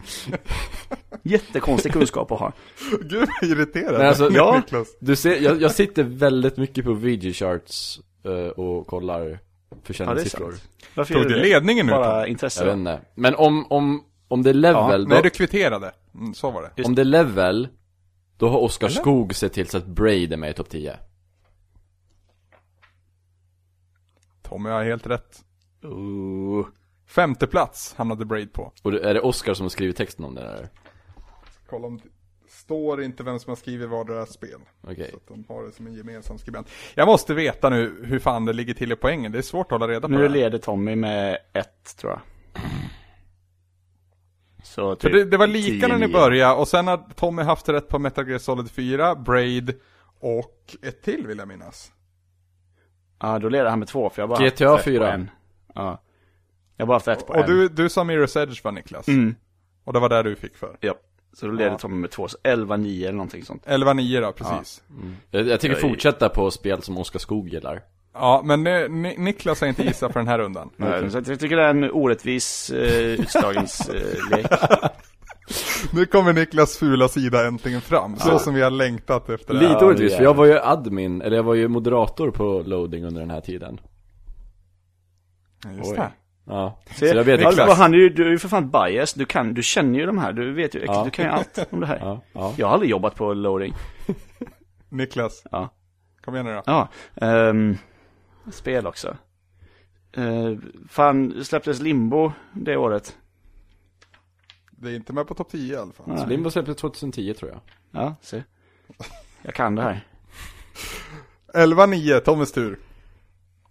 Speaker 2: Jättekonstig kunskap att ha.
Speaker 1: <laughs> Gud vad irriterad <laughs>
Speaker 3: Men alltså,
Speaker 2: Ja.
Speaker 1: Niklas.
Speaker 3: Du ser, jag, jag sitter väldigt mycket på VG charts eh, och kollar försäljningssiffror.
Speaker 2: Varför
Speaker 1: Tog
Speaker 2: gör
Speaker 1: du
Speaker 2: det?
Speaker 1: ledningen nu Tom?
Speaker 2: Bara
Speaker 3: jag
Speaker 2: intresse.
Speaker 3: vet inte. Men om, om, om det är level,
Speaker 1: Nej,
Speaker 3: då,
Speaker 1: du kvitterade. Mm, så var det.
Speaker 2: Just-
Speaker 3: om det är level, då har Oskar Skog sett till så att Braid är med i topp 10.
Speaker 1: Tommy har helt rätt.
Speaker 2: Ooh.
Speaker 1: Femte plats hamnade Braid på.
Speaker 3: Och det- är det Oskar som har skrivit texten om det där?
Speaker 1: Kolla om det står inte vem som har skrivit vad deras spel.
Speaker 3: Okej.
Speaker 1: Så att de har det som en gemensam skribent. Jag måste veta nu hur fan det ligger till i poängen. Det är svårt att hålla reda på
Speaker 2: Nu
Speaker 1: det. här.
Speaker 2: leder Tommy med ett, tror jag.
Speaker 1: För
Speaker 2: Så typ
Speaker 1: det, det var lika när ni
Speaker 2: 10-9.
Speaker 1: började och sen har Tommy haft rätt på Metal Gear Solid 4, Braid och ett till vill jag minnas.
Speaker 2: Ja, då leder han med två, för jag har bara
Speaker 3: GTA
Speaker 2: haft rätt på
Speaker 3: 4.
Speaker 2: en. Ja. Jag har bara haft rätt på
Speaker 1: Och
Speaker 2: en.
Speaker 1: du, du sa Mirror's Edge va Niklas?
Speaker 2: Mm.
Speaker 1: Och det var där du fick för.
Speaker 2: Ja. Så då leder
Speaker 1: Ja.
Speaker 2: Tommy med två, så 11-9 eller någonting sånt.
Speaker 1: 11-9 då, precis. Ja,
Speaker 3: Jag, jag tänker
Speaker 2: Jag är-
Speaker 3: fortsätta på spel som Oskar Skog gillar.
Speaker 1: men ni, ni, Niklas har inte gissat för den här rundan.
Speaker 2: Mm. Så att jag tycker det är en orättvis eh,
Speaker 1: <laughs>
Speaker 2: utslagningslek.
Speaker 1: <laughs> Nu kommer Niklas fula sida äntligen fram, så som vi har längtat efter det här.
Speaker 3: Lite orättvist,
Speaker 2: det är-
Speaker 3: för jag var ju admin, eller jag var ju moderator på loading under den här tiden.
Speaker 1: Just
Speaker 3: Oj.
Speaker 1: det.
Speaker 3: Ja, så
Speaker 2: Se,
Speaker 3: jag vet
Speaker 2: alltså,
Speaker 1: Niklas.
Speaker 2: han är ju, du är ju för fan bias, du, kan, du känner ju de här, du vet ju, ex-
Speaker 3: Ja.
Speaker 2: du kan ju allt om det här.
Speaker 3: Ja, ja.
Speaker 2: Jag har aldrig jobbat på loading.
Speaker 1: Niklas,
Speaker 2: Ja.
Speaker 1: kom igen nu då.
Speaker 2: Ja, ehm, spel också. Eh, fan, släpptes Limbo det året?
Speaker 1: Det är inte med på topp 10 i alla fall.
Speaker 2: Ja.
Speaker 3: Limbo släpptes 2010 tror jag.
Speaker 2: Ja, se. Jag kan det här.
Speaker 1: 11-9, Tommys tur.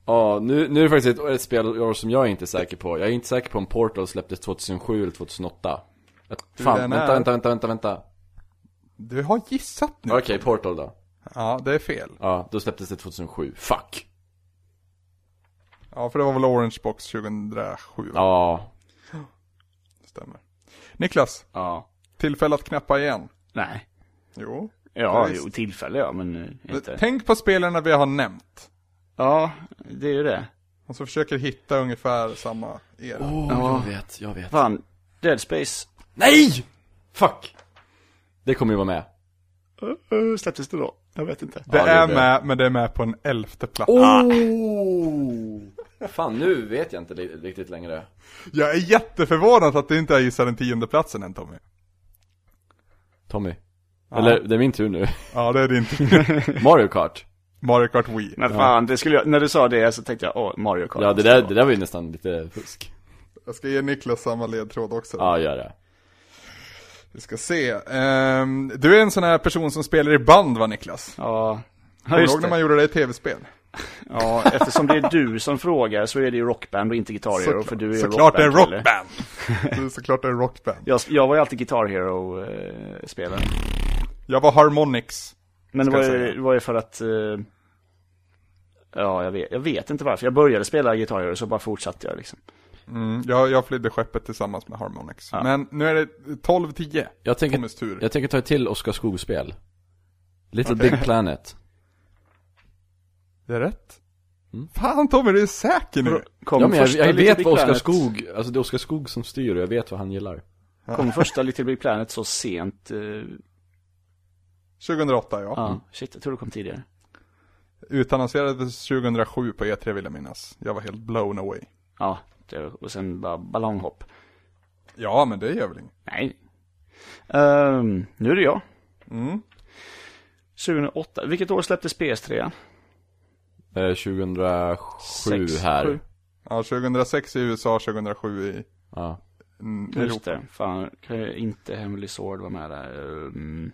Speaker 3: Ja, nu, nu är det faktiskt ett, ett spelår som jag är inte är säker på. Jag är inte säker på om Portal släpptes 2007 eller 2008. Ett- Fan,
Speaker 1: den
Speaker 3: vänta,
Speaker 1: är.
Speaker 3: vänta, vänta, vänta, vänta.
Speaker 1: Du har gissat nu.
Speaker 3: Okej, Portal då.
Speaker 1: Ja, det är fel.
Speaker 3: Ja, då släpptes det 2007. Fuck!
Speaker 1: Ja, för det var väl Orange Box 2007, ja.
Speaker 3: Ja,
Speaker 1: stämmer. Niklas,
Speaker 2: Ja.
Speaker 1: tillfälle att knäppa igen.
Speaker 2: Nej.
Speaker 1: Jo.
Speaker 2: Ja,
Speaker 1: Ja, visst.
Speaker 2: jo, tillfälle ja, men eh, inte.
Speaker 1: Tänk på spelarna vi har nämnt.
Speaker 2: Ja, det är ju det.
Speaker 1: Och så försöker hitta ungefär samma era.
Speaker 3: Oh. ja. jag vet, jag vet.
Speaker 2: Fan, Dead Space.
Speaker 3: Nej! Fuck! Det kommer ju vara med.
Speaker 1: Eh,
Speaker 2: Uh, släpptes det då? Jag vet inte.
Speaker 1: det
Speaker 3: ja, det
Speaker 1: är
Speaker 3: är det.
Speaker 1: med, men det är med på en elfte plats. Ah,
Speaker 3: Oh! Fan, nu vet jag inte li- riktigt längre.
Speaker 1: Jag är jätteförvånad att du inte har gissat den tionde platsen än Tommy.
Speaker 3: Tommy. Eller, det är min tur nu. <laughs>
Speaker 1: Ja, det är din tur. <laughs>
Speaker 3: Mario Kart.
Speaker 1: Mario Kart Wii.
Speaker 2: Men fan, det skulle jag, när du sa det så tänkte jag, åh, Mario Kart.
Speaker 3: Ja, det där, det där var ju nästan lite fusk.
Speaker 1: Jag ska ge Niklas samma ledtråd också.
Speaker 3: Ja, gör det.
Speaker 1: Vi ska se. Ehm, du är en sån här person som spelar i band va Niklas?
Speaker 2: Ja, ja
Speaker 1: Kommer du ihåg
Speaker 2: just
Speaker 1: när
Speaker 2: det.
Speaker 1: man gjorde det i tv-spel?
Speaker 2: Ja, eftersom det är du som frågar så är det ju rockband och inte Guitar Hero, för du är ju
Speaker 1: Såklart det är
Speaker 2: rockband, eller?
Speaker 1: rockband! <laughs> Du är såklart det är rockband.
Speaker 2: Jag, jag var ju alltid Guitar Hero-spelare.
Speaker 1: Jag var Harmonix.
Speaker 2: Men det
Speaker 1: Ska
Speaker 2: var,
Speaker 1: jag
Speaker 2: ju,
Speaker 1: säga.
Speaker 2: det var ju för att... eh, ja, jag vet, jag vet inte varför. Jag började spela Guitar Hero, så bara fortsatte jag liksom.
Speaker 1: Mm, jag, jag flydde skeppet tillsammans med Harmonix.
Speaker 2: Ja.
Speaker 1: Men nu är det 12-10.
Speaker 3: Jag tänker,
Speaker 1: Tommys tur.
Speaker 3: jag tänker ta ett till Oskar Skog-spel. Little Big Planet.
Speaker 1: Det är rätt.
Speaker 2: Mm.
Speaker 1: Fan Tommy, du är säker nu.
Speaker 2: Kom
Speaker 3: ja, men jag,
Speaker 2: första
Speaker 3: jag
Speaker 2: Little
Speaker 3: vet
Speaker 2: Big
Speaker 3: vad Oskar
Speaker 2: Planet-
Speaker 3: Skog, alltså det är Oskar Skog som styr och jag vet vad han gillar.
Speaker 2: Kom första Little Big Planet så sent? eh,
Speaker 1: 2008 ja.
Speaker 3: Mm.
Speaker 2: Ja, shit, jag tror det kom tidigare.
Speaker 1: Utannonserades 2007 på E3 vill jag minnas. Jag var helt blown away.
Speaker 2: Ja, det, och sen bara ballonghopp.
Speaker 1: Ja, men det gör väl inget.
Speaker 2: Nej. Ehm, nu är det jag.
Speaker 1: Mm.
Speaker 2: 2008. Vilket år släpptes PS3?
Speaker 3: Eh, 2007
Speaker 2: Sex,
Speaker 3: här.
Speaker 2: sju.
Speaker 1: Ja, 2006 i USA, 2007 i
Speaker 3: Ja.
Speaker 1: mm,
Speaker 2: Just
Speaker 1: Europa.
Speaker 2: det. Fan, kan ju inte Heavenly Sword vara med där. Mm.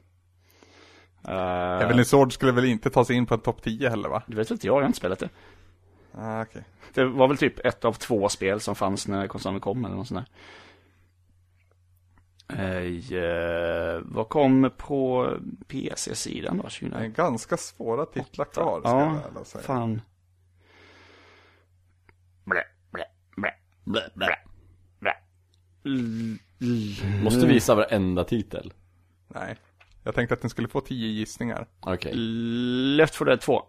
Speaker 2: Eh,
Speaker 1: Evelyn Sword skulle väl inte ta sig in på en topp 10 heller va?
Speaker 2: Det vet inte jag, jag har inte spelat det.
Speaker 1: Ah, okej.
Speaker 2: Det var väl typ ett av två spel som fanns när konsolen kom eller något sånt där. Eh, eh, vad kom på PC-sidan då?
Speaker 1: Det är
Speaker 2: 2000?
Speaker 1: ganska svåra titlar kvar, ska
Speaker 2: Ja,
Speaker 1: jag väl säga.
Speaker 2: Fan. Blä, blä, blä, blä, blä, blä. L- l-
Speaker 3: Måste visa varenda titel.
Speaker 1: Nej. Jag tänkte att den skulle få 10 gissningar.
Speaker 3: Okej.
Speaker 2: Left 4 Dead 2.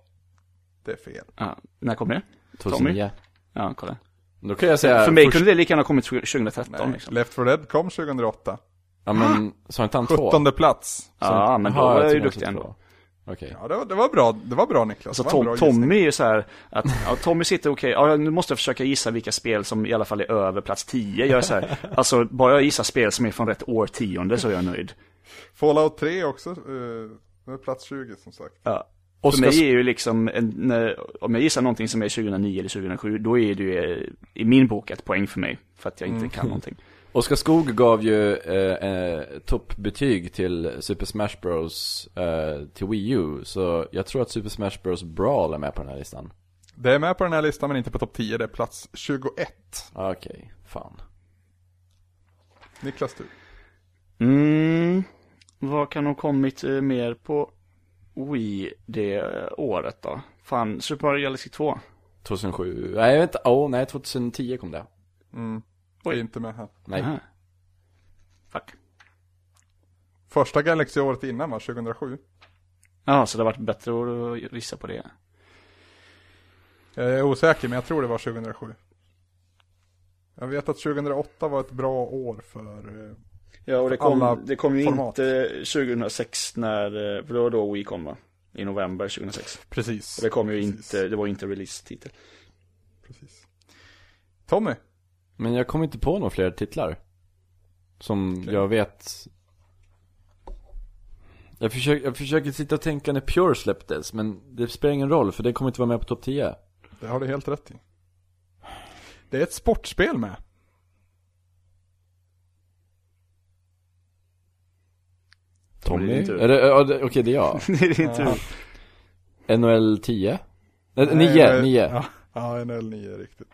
Speaker 1: Det är fel.
Speaker 2: Ja, när kom det?
Speaker 3: 2009.
Speaker 2: Ja, kolla.
Speaker 3: Då kan jag säga...
Speaker 2: För mig
Speaker 3: Eh, först-
Speaker 2: kunde det lika gärna ha kommit
Speaker 1: Nej.
Speaker 2: 2013 liksom.
Speaker 1: Left 4 Dead kom 2008.
Speaker 3: Ja men, sa inte han två?
Speaker 1: 17 plats.
Speaker 2: Ja, men då
Speaker 3: Jaha,
Speaker 2: var jag
Speaker 3: tror
Speaker 2: ju
Speaker 3: han sa
Speaker 2: duktig ändå.
Speaker 3: två. Okej.
Speaker 1: Ja, det var, det var bra, det var bra Niklas.
Speaker 2: Alltså
Speaker 1: det var en bra
Speaker 2: Tom,
Speaker 1: gissning.
Speaker 2: Tommy är ju så här att, ja, Tommy sitter okej, ja, nu måste jag försöka gissa vilka spel som i alla fall är över plats 10. Jag är så här, alltså bara jag gissar spel som är från rätt årtionde så är jag nöjd.
Speaker 1: Fallout 3 också, eh, det var plats 20 som sagt.
Speaker 2: Ja.
Speaker 3: Och
Speaker 2: För
Speaker 3: ska
Speaker 2: mig är ju liksom, en, när, om jag gissar någonting som är 2009 eller 2007, då är det ju eh, i min bok ett poäng för mig, för att jag inte kan någonting.
Speaker 3: Oskar Skog gav ju eh, eh, toppbetyg till Super Smash Bros eh, till Wii U, så jag tror att Super Smash Bros Brawl är med på den här listan.
Speaker 1: Det är med på den här listan men inte på topp 10, det är plats 21.
Speaker 3: Okej, fan.
Speaker 1: Niklas du.
Speaker 2: Mm, vad kan ha kommit eh, mer på Wii det eh, året då? Fan, Super Mario Galaxy 2.
Speaker 3: 2007, nej vänta, åh nej 2010 kom det.
Speaker 1: Mm. Det
Speaker 2: Oj.
Speaker 1: är inte med här.
Speaker 3: Nej,
Speaker 2: Aha. Fuck.
Speaker 1: Första Galaxy året innan va, 2007?
Speaker 2: Ja, så det har varit bättre att gissa på det.
Speaker 1: Jag är osäker men jag tror det var 2007. Jag vet att 2008 var ett bra år för... eh,
Speaker 2: Ja, och det
Speaker 1: Alla
Speaker 2: kom, det kom ju
Speaker 1: format.
Speaker 2: inte 2006 när, eh, för det var då Wii kom va? I november 2006.
Speaker 1: Precis.
Speaker 2: Och det kom ju
Speaker 1: Precis.
Speaker 2: inte, det var ju inte release-titel.
Speaker 1: Precis. Tommy,
Speaker 3: men jag kom inte på några fler titlar. Som jag vet... Jag försöker, jag försöker sitta och tänka när Pure släpptes, men det spelar ingen roll för det kommer inte vara med på topp 10.
Speaker 1: det har du helt rätt i. Det är ett sportspel med.
Speaker 2: Tommy, det är din tur.
Speaker 3: Är det, ja, det- okej det
Speaker 1: <laughs>
Speaker 3: är jag.
Speaker 2: det är din tur.
Speaker 3: NHL 10? Nej,
Speaker 1: Eh,
Speaker 3: 9, 9.
Speaker 1: Ja, ja NL 9 är riktigt.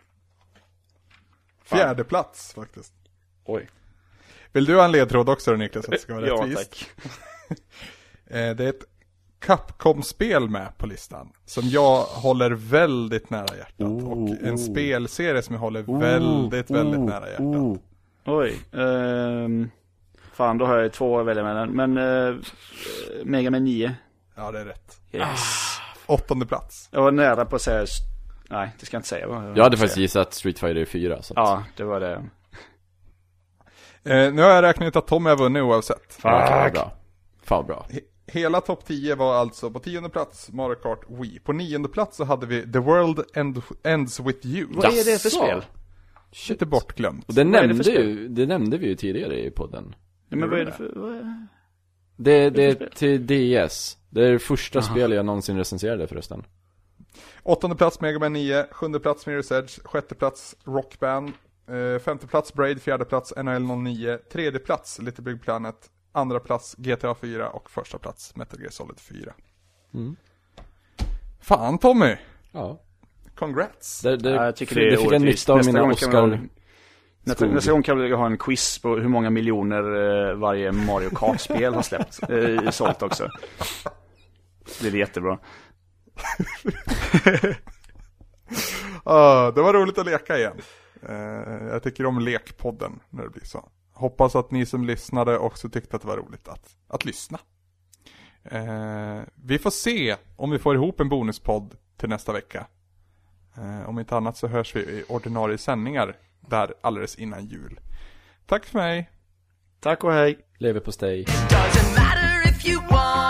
Speaker 1: Fjärde plats faktiskt.
Speaker 2: Oj.
Speaker 1: Vill du ha en ledtråd också då Niklas? Att det ska vara
Speaker 2: <laughs> Ja,
Speaker 1: rättvist.
Speaker 2: tack.
Speaker 1: Eh, Det är ett Capcom-spel med på listan. Som jag håller väldigt nära hjärtat. och
Speaker 3: Oh,
Speaker 1: en
Speaker 3: oh.
Speaker 1: spelserie som jag håller väldigt, väldigt nära hjärtat.
Speaker 3: oh.
Speaker 2: Oj. ehm, fan, då har jag ju två att välja mellan. Men eh, Mega Man 9.
Speaker 1: Ja, det är rätt.
Speaker 2: Yes.
Speaker 1: Åttonde plats.
Speaker 2: Jag var nära på att säga, nej, det ska jag inte säga. vad
Speaker 3: Jag
Speaker 2: säger.
Speaker 3: hade faktiskt gissat Street Fighter 4 så att,
Speaker 2: Ja, det var det.
Speaker 1: Eh, nu har jag räknat ut att Tommy har vunnit oavsett.
Speaker 3: ja, okej, vad bra. Fan vad bra.
Speaker 1: He- Hela topp 10 var alltså på tionde plats Mario Kart Wii. På nionde plats så hade vi The World End, Ends With You.
Speaker 2: Vad är det för
Speaker 3: Jaså?
Speaker 2: spel?
Speaker 3: Shit.
Speaker 1: Lite bortglömt.
Speaker 3: Och det
Speaker 2: Vad är det
Speaker 3: nämnde,
Speaker 2: för
Speaker 3: ju, det nämnde vi ju tidigare i podden.
Speaker 2: Ja, men vad är det för, vad är...
Speaker 3: Det, det
Speaker 2: för
Speaker 3: är till DS. Det är det första spel jag någonsin recenserade förresten.
Speaker 1: Åttonde plats Mega Man 9, sjunde plats Mirror's Edge, sjätte plats Rock Band, eh, femte plats Braid, fjärde plats NHL 09, tredje plats Little Big Planet, andra plats GTA 4 och första plats Metal Gear Solid 4.
Speaker 3: Mm.
Speaker 1: Fan Tommy!
Speaker 3: Ja.
Speaker 1: Congrats!
Speaker 3: Det, det,
Speaker 2: Ja, jag tycker
Speaker 3: det,
Speaker 2: det är
Speaker 3: fick en
Speaker 2: orättvist.
Speaker 3: nytta av
Speaker 2: Nästa
Speaker 3: mina
Speaker 2: gång kan vi ha-
Speaker 3: Oscar.
Speaker 2: Nästa,
Speaker 3: Skog.
Speaker 2: nästa gång kan vi ha en quiz på hur många miljoner eh, varje Mario Kart-spel har släppt, eh, sålt också. Det blir jättebra.
Speaker 1: Ah, det var roligt att leka igen. Eh, jag tycker om lekpodden när det blir så. Hoppas att ni som lyssnade också tyckte att det var roligt att, att lyssna. Eh, vi får se om vi får ihop en bonuspodd till nästa vecka. Eh, om inte annat så hörs vi i ordinarie sändningar där alldeles innan jul. Tack för mig!
Speaker 2: Tack och hej.
Speaker 3: Leverpastej.
Speaker 4: Doesn't matter if you want.